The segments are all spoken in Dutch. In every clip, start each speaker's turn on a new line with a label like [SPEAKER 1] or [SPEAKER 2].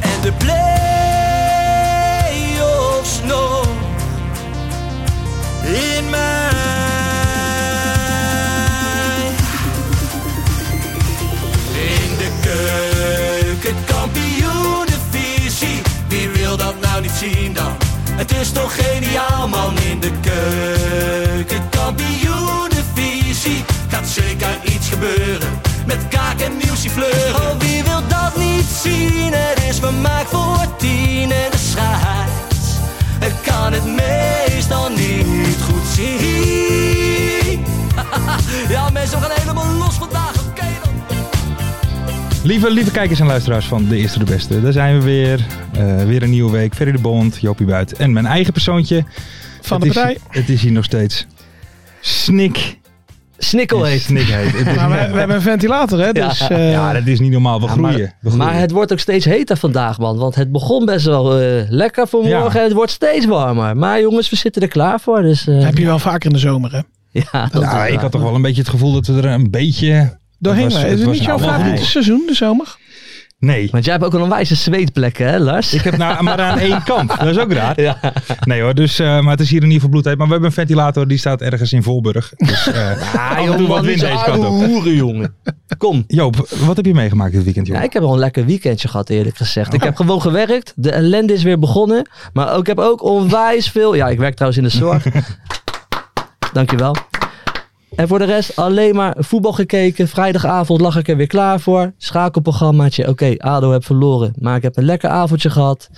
[SPEAKER 1] En de play-offs nog.
[SPEAKER 2] In mij.
[SPEAKER 1] In de keuken, kampioenenvisie. Wie wil dat nou niet zien dan? Het is toch geniaal man in de keuken, kampioenenvisie. Gaat zeker iets gebeuren met kaak en nieuwsie fleuren. Oh, wie wil dat niet zien? Het is vermaakt voor tien en de scheids. Het kan het meestal niet goed zien. ja mensen, we gaan helemaal los vandaag, oké dan.
[SPEAKER 3] Lieve, lieve kijkers en luisteraars van De Eerste de Beste, daar zijn we weer. Eh, weer een nieuwe week. Ferry de Bond, Jopie Buit en mijn eigen persoontje.
[SPEAKER 4] Van de
[SPEAKER 3] het
[SPEAKER 4] partij.
[SPEAKER 3] Is, het is hier nog steeds snik.
[SPEAKER 5] Snikkel heet.
[SPEAKER 3] Snik heet. Het is-
[SPEAKER 4] Maar we, we hebben een ventilator, hè? Dus, eh,
[SPEAKER 3] ja, dat is niet normaal. We groeien. We groeien.
[SPEAKER 5] Maar het wordt ook steeds heter vandaag, man. Want het begon best wel eh, lekker vanmorgen.
[SPEAKER 3] Ja.
[SPEAKER 5] En het wordt steeds warmer. Maar jongens, we zitten er klaar voor. Dus, eh,
[SPEAKER 4] heb je wel vaker in de zomer, hè?
[SPEAKER 5] ja, dat
[SPEAKER 3] Nou,
[SPEAKER 5] is
[SPEAKER 3] ik
[SPEAKER 5] waar.
[SPEAKER 3] had toch wel een beetje het gevoel dat we er een beetje...
[SPEAKER 4] Doorheen.
[SPEAKER 3] Het was-
[SPEAKER 4] eh,
[SPEAKER 3] het
[SPEAKER 4] is het
[SPEAKER 3] was
[SPEAKER 4] niet jouw
[SPEAKER 3] nou wel
[SPEAKER 4] favoriete
[SPEAKER 3] goed.
[SPEAKER 4] seizoen, de zomer?
[SPEAKER 3] Nee.
[SPEAKER 5] Want jij hebt ook wel een wijze zweetplek, hè, Lars?
[SPEAKER 3] Ik heb nou, maar aan één kant. Dat is ook raar.
[SPEAKER 5] Ja.
[SPEAKER 3] Nee hoor, dus, eh, maar het is hier in ieder geval bloedheid. Maar we hebben een ventilator, die staat ergens in Volburg. Dus eh, af en toe wat wind deze kant op.
[SPEAKER 5] hoeren, jongen. Kom.
[SPEAKER 3] Joop, wat heb je meegemaakt dit weekend, joh?
[SPEAKER 5] Ja, Nou, ik heb wel een lekker weekendje gehad, eerlijk gezegd. Ik heb gewoon gewerkt. De ellende is weer begonnen. Maar ook- ik heb ook onwijs veel... Ja, ik werk trouwens in de zorg. Dankjewel. En voor de rest alleen maar voetbal gekeken. Vrijdagavond lag ik er weer klaar voor. Schakelprogrammaatje. Oké, ADO heb verloren. Maar ik heb een lekker avondje gehad.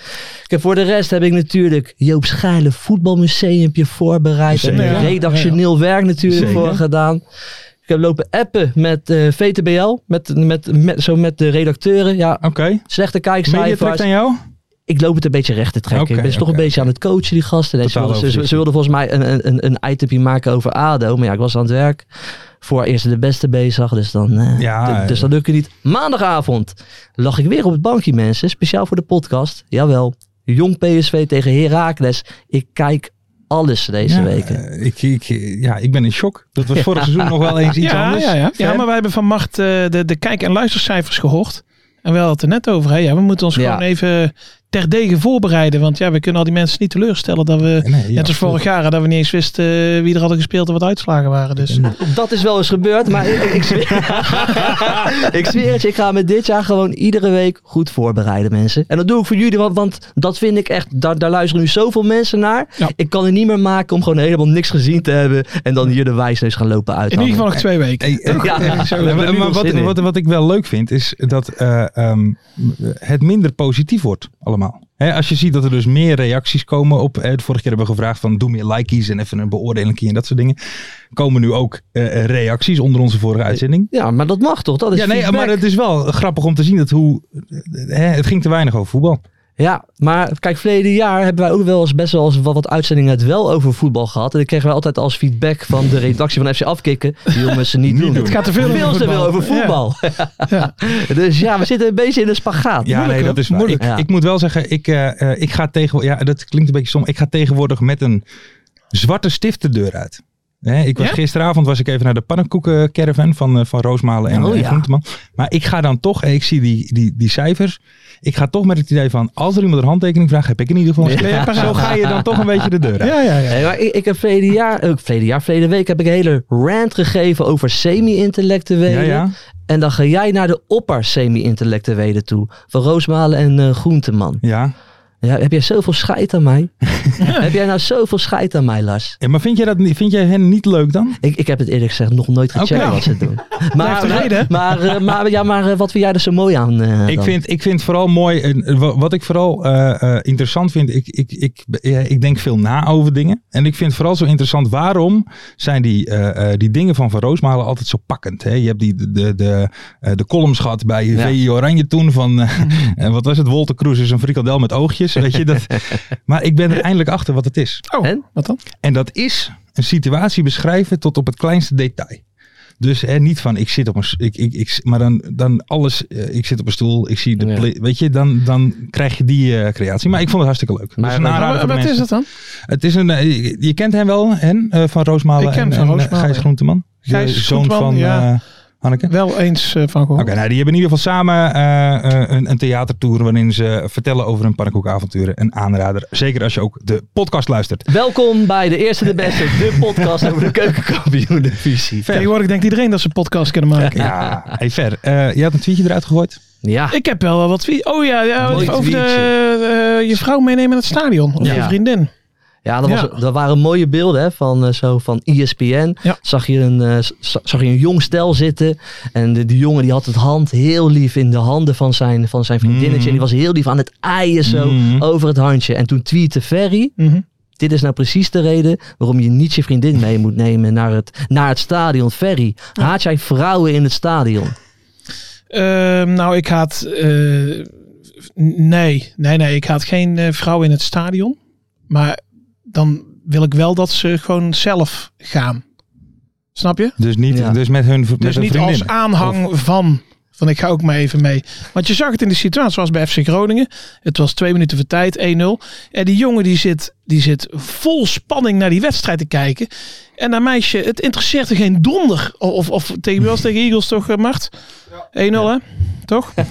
[SPEAKER 5] Ik heb voor de rest heb ik natuurlijk Joop Schijlen voetbalmuseumpje voorbereid. En
[SPEAKER 3] Zeker.
[SPEAKER 5] een redactioneel werk natuurlijk
[SPEAKER 3] Zeker.
[SPEAKER 5] voor gedaan. Ik heb lopen appen met eh, VTBL, met, met, met, zo met de redacteuren. Ja,
[SPEAKER 3] Oké.
[SPEAKER 5] slechte
[SPEAKER 3] Media trekt
[SPEAKER 5] kijkcijfers.
[SPEAKER 3] aan jou?
[SPEAKER 5] Ik loop het een beetje recht te trekken.
[SPEAKER 3] Oké,
[SPEAKER 5] ik ben ze toch
[SPEAKER 3] oké,
[SPEAKER 5] een beetje aan het coachen, die gasten. Nee, ze,
[SPEAKER 3] Totaal
[SPEAKER 5] wilden, ze- ze,
[SPEAKER 3] overzicht.
[SPEAKER 5] ze wilden volgens mij een, een- een, een itempje maken over ADO. Maar ja, ik was aan het werk. Voor eerst de beste bezig, dus dan, eh,
[SPEAKER 3] Ja,
[SPEAKER 5] d-
[SPEAKER 3] eh.
[SPEAKER 5] dus dat lukte niet. Maandagavond lag ik weer op het bankje, mensen. Speciaal voor de podcast. Jawel, jong PSV tegen Heracles. Ik kijk alles deze
[SPEAKER 3] Ja,
[SPEAKER 5] weken.
[SPEAKER 3] eh, ik, ik, ja, ik ben in shock. Dat was vorig seizoen nog wel eens iets
[SPEAKER 4] ja,
[SPEAKER 3] anders.
[SPEAKER 4] ja, ja. ja,
[SPEAKER 3] Hè?
[SPEAKER 4] maar wij hebben van macht eh, de, de kijk- en luistercijfers gehoord. En wel het er net over. Hè? Ja, we moeten ons
[SPEAKER 5] Ja.
[SPEAKER 4] gewoon even terdege voorbereiden. Want ja, we kunnen al die mensen niet teleurstellen dat we,
[SPEAKER 3] Eh, Nee, ja,
[SPEAKER 4] net als vorig jaar, hè, dat we niet eens wisten eh, wie er hadden gespeeld en wat de uitslagen waren. Dus
[SPEAKER 5] Dat is wel eens gebeurd, maar ik, ik, zweer, ik zweer het je, ik ga me dit jaar gewoon iedere week goed voorbereiden, mensen. En dat doe ik voor jullie, want, want dat vind ik echt, daar, daar luisteren nu zoveel mensen naar.
[SPEAKER 4] Ja.
[SPEAKER 5] Ik kan het niet meer maken om gewoon helemaal niks gezien te hebben en dan hier de wijsneus gaan lopen uit.
[SPEAKER 4] in ieder geval nog twee weken.
[SPEAKER 3] Hey, eh,
[SPEAKER 5] Ja,
[SPEAKER 3] eh,
[SPEAKER 5] we
[SPEAKER 3] zo,
[SPEAKER 5] hebben er
[SPEAKER 3] maar-
[SPEAKER 5] nu
[SPEAKER 3] maar
[SPEAKER 5] wel
[SPEAKER 3] wat,
[SPEAKER 5] zin in.
[SPEAKER 3] wat, wat ik wel leuk vind, is dat eh, ehm, het minder positief wordt allemaal. Hè, als je ziet dat er dus meer reacties komen op... eh, de vorige keer hebben we gevraagd van doe meer likejes en even een beoordeling en dat soort dingen. Komen nu ook eh, reacties onder onze vorige uitzending.
[SPEAKER 5] Ja, maar dat mag toch? Dat is
[SPEAKER 3] Ja, nee,
[SPEAKER 5] feedback.
[SPEAKER 3] maar het is wel grappig om te zien dat hoe... eh, hè, het ging te weinig over voetbal.
[SPEAKER 5] Ja, maar kijk, verleden jaar hebben wij ook wel eens best wel eens wat, wat uitzendingen het wel over voetbal gehad. En dan kregen wij altijd als feedback van de redactie van FC Afkikken, die jongens ze niet, doen.
[SPEAKER 3] doen.
[SPEAKER 4] Het gaat te veel over
[SPEAKER 5] te veel
[SPEAKER 4] voetbal.
[SPEAKER 5] over voetbal.
[SPEAKER 4] Ja.
[SPEAKER 5] dus ja, we zitten een beetje in de spagaat.
[SPEAKER 3] Ja, nee,
[SPEAKER 4] hoor.
[SPEAKER 3] dat is waar.
[SPEAKER 5] Moeilijk.
[SPEAKER 3] Ik,
[SPEAKER 5] Ja.
[SPEAKER 3] ik moet wel zeggen, ik, eh, eh, ik ga tegenwoordig, ja, dat klinkt een beetje stom. Ik ga tegenwoordig met een zwarte stift de deur uit. Hè, ik was
[SPEAKER 4] Ja?
[SPEAKER 3] Gisteravond was ik even naar de pannenkoekencaravan van, eh, van Roosmalen en,
[SPEAKER 5] Oh,
[SPEAKER 3] eh,
[SPEAKER 5] ja.
[SPEAKER 3] Groenteman. Maar ik ga dan toch, eh, ik zie die, die, die cijfers. Ik ga toch met het idee van, als er iemand een handtekening vraagt, heb ik in ieder geval een
[SPEAKER 4] Ja.
[SPEAKER 3] stift. Zo ga je dan toch een beetje de deur uit.
[SPEAKER 4] Ja, ja, ja.
[SPEAKER 5] Nee, maar ik, ik heb verleden jaar, ook verleden jaar, verleden week heb ik een hele rant gegeven over semi-intellectuelen.
[SPEAKER 3] Ja, ja.
[SPEAKER 5] En dan ga jij naar de opper semi-intellectuelen toe. Van Roosmalen en eh, Groenteman.
[SPEAKER 3] ja.
[SPEAKER 5] Ja, heb jij zoveel scheid aan mij? heb jij nou zoveel scheid aan mij, Lars?
[SPEAKER 3] Ja, maar vind jij, dat, niet- vind jij hen niet leuk dan?
[SPEAKER 5] Ik, ik heb het eerlijk gezegd nog nooit gecheckt
[SPEAKER 3] Oké.
[SPEAKER 5] wat ze doen.
[SPEAKER 4] Blijft een reden, hè?
[SPEAKER 5] maar, maar, eh, maar, ja, maar eh, wat vind jij er zo mooi aan? eh,
[SPEAKER 3] Ik
[SPEAKER 5] dan?
[SPEAKER 3] vind, ik vind vooral mooi, en wa- wat ik vooral eh, eh, interessant vind, ik, ik, ik, eh, ik denk veel na over dingen. En ik vind vooral zo interessant, waarom zijn die, eh, eh, die dingen van Van Roosmalen altijd zo pakkend? Hè? Je hebt die, de, de, de, eh, de columns gehad bij
[SPEAKER 5] Ja.
[SPEAKER 3] VI Oranje toen van, eh, eh, wat was het, Wolter Kroes is een frikandel met oogjes. Weet je, dat, maar ik ben er eindelijk achter wat het is.
[SPEAKER 4] Oh,
[SPEAKER 5] En?
[SPEAKER 4] wat dan?
[SPEAKER 3] En dat is een situatie beschrijven tot op het kleinste detail. Dus hè, niet van ik zit op een s- ik, ik, ik, maar dan, dan alles, eh, ik zit op een stoel, ik zie de
[SPEAKER 5] Ja.
[SPEAKER 3] play- weet je, dan, dan krijg je die eh, creatie. Maar ik vond het hartstikke leuk.
[SPEAKER 5] Maar-
[SPEAKER 3] Dus een
[SPEAKER 5] maar-
[SPEAKER 3] aanrader
[SPEAKER 4] Maar
[SPEAKER 3] voor de
[SPEAKER 4] Nou, wat is
[SPEAKER 3] mensen.
[SPEAKER 4] het dan?
[SPEAKER 3] Het is een, eh, je- je kent hem wel, hen, eh, van Roosmalen
[SPEAKER 4] Ik ken
[SPEAKER 3] en,
[SPEAKER 4] Van
[SPEAKER 3] en, eh,
[SPEAKER 4] Roosmalen,
[SPEAKER 3] Gijs
[SPEAKER 4] ja.
[SPEAKER 3] Groenteman. De
[SPEAKER 4] Gijs
[SPEAKER 3] zoon
[SPEAKER 4] Groenteman,
[SPEAKER 3] van
[SPEAKER 4] ja.
[SPEAKER 3] eh, Hanneke.
[SPEAKER 4] Wel eens eh, van gehoord.
[SPEAKER 3] Oké, nou die hebben in ieder geval samen eh, eh, een, een theatertour waarin ze vertellen over hun pannenkoekavonturen. Een aanrader, zeker als je ook de podcast luistert.
[SPEAKER 5] Welkom bij de Eerste de Beste, de podcast over de keukenkampioen-divisie.
[SPEAKER 4] Tegenwoordig denkt iedereen dat ze een podcast kunnen maken.
[SPEAKER 3] Ja, hey Fer, eh, je had een tweetje eruit gegooid.
[SPEAKER 5] Ja,
[SPEAKER 4] Ik heb wel wat... wie- Oh ja, ja
[SPEAKER 5] Mooi
[SPEAKER 4] over de, eh, je vrouw meenemen naar het stadion. Of
[SPEAKER 5] Ja.
[SPEAKER 4] je vriendin.
[SPEAKER 5] ja, dat, was,
[SPEAKER 4] Ja.
[SPEAKER 5] dat waren mooie beelden hè, van, eh, zo, van ESPN.
[SPEAKER 4] Ja.
[SPEAKER 5] Zag, je een, eh, z- zag je een jong stel zitten. En de, die jongen die had het hand heel lief in de handen van zijn, van zijn vriendinnetje.
[SPEAKER 3] Mm.
[SPEAKER 5] En die was heel lief aan het aaien zo
[SPEAKER 3] Mhm.
[SPEAKER 5] over het handje. En toen tweette Ferry...
[SPEAKER 4] Mhm.
[SPEAKER 5] Dit is nou precies de reden waarom je niet je vriendin mee moet nemen naar het, naar het stadion. Ferry, haat jij vrouwen in het stadion?
[SPEAKER 4] Ehm, nou, ik haat. eh, nee, nee, nee. Ik haat geen eh, vrouw in het stadion. Maar dan wil ik wel dat ze gewoon zelf gaan. Snap je?
[SPEAKER 3] Dus, niet,
[SPEAKER 5] Ja.
[SPEAKER 3] dus met hun, met
[SPEAKER 4] Dus
[SPEAKER 3] hun
[SPEAKER 4] niet als
[SPEAKER 3] vriendinnen.
[SPEAKER 4] aanhang van. Van ik ga ook maar even mee. Want je zag het in de situatie, zoals bij FC Groningen. Het was twee minuten voor tijd, 1-0. En die jongen die zit, die zit vol spanning naar die wedstrijd te kijken. En dat meisje, het interesseert er geen donder. O- Of, of tegen wie was het? tegen Eagles toch, eh, Mart? 1-0 hè? Toch? en,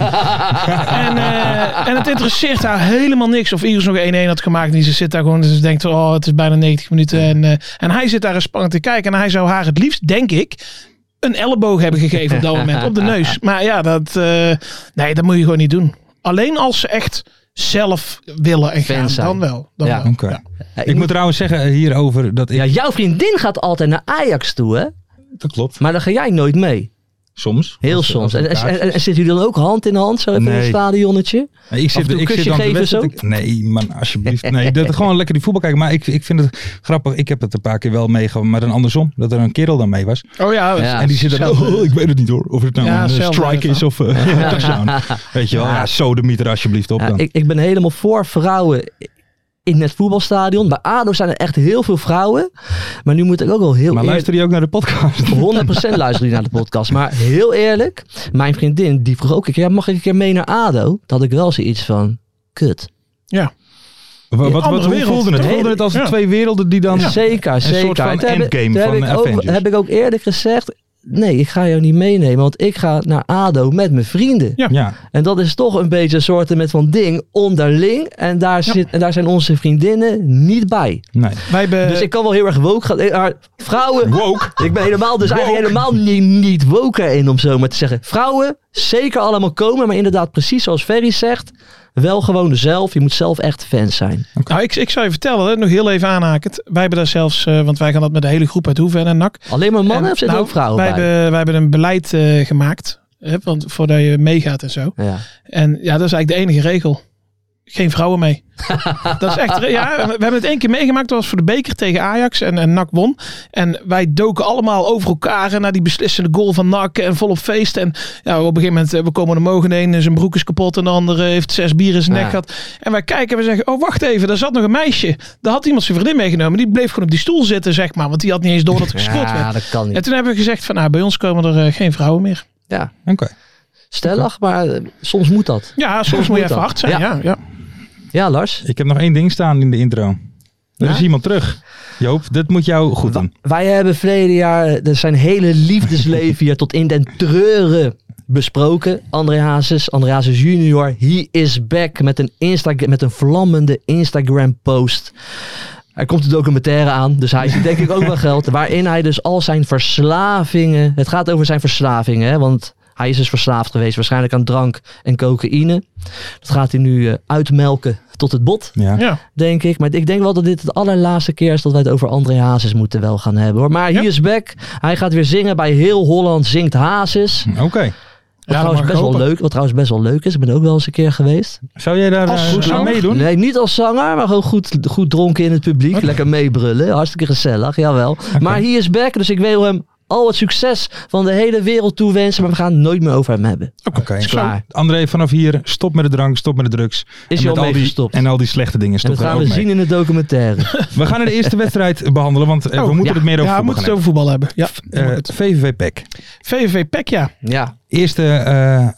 [SPEAKER 4] eh, en het interesseert haar helemaal niks of Iris nog 1-1 had gemaakt. En ze zit daar gewoon en ze denkt, oh het is bijna 90 minuten. En, eh, en hij zit daar in spanning te kijken. En hij zou haar het liefst, denk ik, een elleboog hebben gegeven op dat moment. Op de neus. Maar ja, dat, eh, nee, dat moet je gewoon niet doen. Alleen als ze echt zelf willen en
[SPEAKER 5] Fan
[SPEAKER 4] gaan,
[SPEAKER 5] zijn.
[SPEAKER 4] dan wel. Dan
[SPEAKER 5] Ja.
[SPEAKER 4] wel.
[SPEAKER 3] Oké.
[SPEAKER 5] Ja,
[SPEAKER 3] Ik moet trouwens zeggen eh, hierover dat ik...
[SPEAKER 5] Ja, jouw vriendin gaat altijd naar Ajax toe, hè?
[SPEAKER 3] dat klopt.
[SPEAKER 5] Maar dan ga jij nooit mee.
[SPEAKER 3] Soms.
[SPEAKER 5] Heel
[SPEAKER 3] Als-
[SPEAKER 5] soms.
[SPEAKER 3] als
[SPEAKER 5] En,
[SPEAKER 3] er
[SPEAKER 5] en,
[SPEAKER 3] kaartjes-
[SPEAKER 5] en, en zitten jullie dan ook hand in hand zo even in
[SPEAKER 3] Nee.
[SPEAKER 5] het stadionnetje?
[SPEAKER 3] Ik
[SPEAKER 5] af en
[SPEAKER 3] zit,
[SPEAKER 5] toe
[SPEAKER 3] ik
[SPEAKER 5] kusje
[SPEAKER 3] zit dan te
[SPEAKER 5] geven
[SPEAKER 3] wedstrijd- Nee, man, alsjeblieft. Nee, dat, gewoon lekker die voetbal kijken. Maar ik, ik vind het grappig. Ik heb het een paar keer wel meegemaakt, maar dan andersom. Dat er een kerel dan mee was.
[SPEAKER 4] Oh ja,
[SPEAKER 5] Ja.
[SPEAKER 3] en die zit dan,
[SPEAKER 4] hetzelfde.
[SPEAKER 3] oh, ik weet het niet hoor. Of het nou
[SPEAKER 4] Ja,
[SPEAKER 3] een eh,
[SPEAKER 4] hetzelfde
[SPEAKER 3] strike is of eh, een touchdown. Weet je wel, ja, sodemiet er alsjeblieft op
[SPEAKER 5] Ja,
[SPEAKER 3] dan.
[SPEAKER 5] ik, ik ben helemaal voor vrouwen in het voetbalstadion. Bij ADO zijn er echt heel veel vrouwen. Maar nu moet ik ook wel heel
[SPEAKER 3] Maar
[SPEAKER 5] eerlijk...
[SPEAKER 3] luister je ook naar de podcast?
[SPEAKER 5] 100% luisteren jullie naar de podcast. Maar heel eerlijk, mijn vriendin die vroeg ook een keer, ja, mag ik een keer mee naar ADO? Dat had ik wel zoiets van, kut.
[SPEAKER 3] Wa- Wat, wat,
[SPEAKER 4] Andere
[SPEAKER 3] hoe
[SPEAKER 4] wereld.
[SPEAKER 3] voelde het?
[SPEAKER 4] Nee,
[SPEAKER 3] Voelde het als
[SPEAKER 4] ja.
[SPEAKER 3] twee werelden die dan...
[SPEAKER 5] Zeker, zeker.
[SPEAKER 3] soort van
[SPEAKER 5] En toen heb ik-
[SPEAKER 3] endgame
[SPEAKER 5] toen heb
[SPEAKER 3] van
[SPEAKER 5] ik ook-
[SPEAKER 3] Avengers.
[SPEAKER 5] heb ik ook eerlijk gezegd, nee, ik ga jou niet meenemen. Want ik ga naar ADO met mijn vrienden.
[SPEAKER 3] Ja.
[SPEAKER 5] En dat is toch een beetje een soort met van ding onderling. En daar, zit, en daar zijn onze vriendinnen niet bij.
[SPEAKER 3] Nee.
[SPEAKER 4] Wij
[SPEAKER 3] Eh,
[SPEAKER 4] hebben,
[SPEAKER 5] dus ik kan wel heel erg woke gaan. eh, maar Vrouwen.
[SPEAKER 3] Woke.
[SPEAKER 5] Ik ben helemaal, dus eigenlijk helemaal niet, niet woke erin om zo maar te zeggen. Vrouwen, zeker allemaal komen. Maar inderdaad, precies zoals Ferry zegt. Wel gewoon zelf. Je moet zelf echt fan zijn.
[SPEAKER 4] nou, ik, ik zou je vertellen, hè, nog heel even aanhakend. Wij hebben daar zelfs, eh, want wij gaan dat met de hele groep uit Hoeven en NAC.
[SPEAKER 5] Alleen maar mannen
[SPEAKER 4] En,
[SPEAKER 5] of zitten
[SPEAKER 4] nou,
[SPEAKER 5] ook vrouwen
[SPEAKER 4] wij
[SPEAKER 5] bij?
[SPEAKER 4] Hebben, wij hebben een beleid eh, gemaakt. Hè, want voordat je meegaat en zo.
[SPEAKER 5] Ja.
[SPEAKER 4] En ja, dat is eigenlijk de enige regel. Geen vrouwen mee. dat is echt. Ja, we hebben het één keer meegemaakt. Dat was voor de beker tegen Ajax. En, en NAC won. En wij doken allemaal over elkaar. En naar die beslissende goal van NAC. En volop feest. En ja, op een gegeven moment. eh, We komen er mogen heen. En zijn broek is kapot. En de andere heeft zes bier in zijn
[SPEAKER 5] Ja.
[SPEAKER 4] nek gehad. En wij kijken. En we zeggen. Oh, wacht even. Daar zat nog een meisje. Daar had iemand zijn vriendin meegenomen. Die bleef gewoon op die stoel zitten, zeg maar. Want die had niet eens door dat er gescoord werd.
[SPEAKER 5] ja, dat kan
[SPEAKER 4] En
[SPEAKER 5] niet.
[SPEAKER 4] toen hebben we gezegd van nou, bij ons komen er eh, geen vrouwen meer.
[SPEAKER 5] Ja.
[SPEAKER 3] Oké.
[SPEAKER 5] Stellig, maar eh, soms moet dat.
[SPEAKER 4] Ja, soms moet je
[SPEAKER 5] Moet
[SPEAKER 4] even
[SPEAKER 5] dat.
[SPEAKER 4] hard zijn.
[SPEAKER 5] Ja.
[SPEAKER 4] Ja. Ja, ja.
[SPEAKER 5] Ja, Lars?
[SPEAKER 3] Ik heb nog één ding staan in de intro. Er
[SPEAKER 5] Ja?
[SPEAKER 3] is iemand terug. Joop, dit moet jou goed doen.
[SPEAKER 5] Wij hebben verleden jaar eh, zijn hele liefdesleven hier tot in den treuren besproken. André Hazes, André Hazes junior, he is back met een, Insta met een vlammende Instagram post. Er komt een documentaire aan, dus hij ziet denk ik ook wel geld. Waarin hij dus al zijn verslavingen, het gaat over zijn verslavingen, hè, want... Hij is dus verslaafd geweest, waarschijnlijk aan drank en cocaïne. Dat gaat hij nu eh, uitmelken tot het bot,
[SPEAKER 3] Ja.
[SPEAKER 4] Ja,
[SPEAKER 5] denk ik. Maar ik denk wel dat dit de allerlaatste keer is dat wij het over André Hazes moeten wel gaan hebben. Hoor. Maar
[SPEAKER 4] Ja.
[SPEAKER 5] he is back. Hij gaat weer zingen bij Heel Holland Zingt Hazes.
[SPEAKER 3] Oké.
[SPEAKER 5] Wat,
[SPEAKER 4] dat mag
[SPEAKER 5] trouwens
[SPEAKER 4] ik
[SPEAKER 5] best wel
[SPEAKER 4] hopen.
[SPEAKER 5] leuk, wat trouwens best wel leuk is. Ik ben ook wel eens een keer geweest.
[SPEAKER 3] Zou jij daar
[SPEAKER 4] Als
[SPEAKER 3] eh,
[SPEAKER 4] goed
[SPEAKER 3] aan
[SPEAKER 4] zo.
[SPEAKER 3] meedoen?
[SPEAKER 5] Nee, niet als zanger, maar gewoon goed, goed dronken in het publiek. Lekker meebrullen. Hartstikke gezellig, jawel. Maar he is back, dus ik wil hem al het succes van de hele wereld toewensen. Maar we gaan het nooit meer over hem hebben.
[SPEAKER 3] Oké.
[SPEAKER 5] is klaar.
[SPEAKER 3] André, vanaf hier, stop met de drank, stop met de
[SPEAKER 5] Is
[SPEAKER 3] drugs. En
[SPEAKER 5] hij
[SPEAKER 3] met
[SPEAKER 5] al mee
[SPEAKER 3] die-
[SPEAKER 5] gestopt?
[SPEAKER 3] En al die slechte dingen,
[SPEAKER 5] En
[SPEAKER 3] stop
[SPEAKER 5] dat
[SPEAKER 3] daar
[SPEAKER 5] gaan
[SPEAKER 3] ook
[SPEAKER 5] we
[SPEAKER 3] mee.
[SPEAKER 5] zien in de documentaire.
[SPEAKER 3] We gaan de eerste wedstrijd behandelen, want eh, we
[SPEAKER 4] Oh,
[SPEAKER 3] moeten
[SPEAKER 5] ja.
[SPEAKER 3] het meer over
[SPEAKER 4] ja we
[SPEAKER 3] voetbal
[SPEAKER 4] moeten
[SPEAKER 3] gaan
[SPEAKER 4] het over voetbal hebben. Ja,
[SPEAKER 3] hebben. Eh, VVV PEC.
[SPEAKER 4] VVV Pek, ja.
[SPEAKER 5] ja.
[SPEAKER 3] Eerste, eh,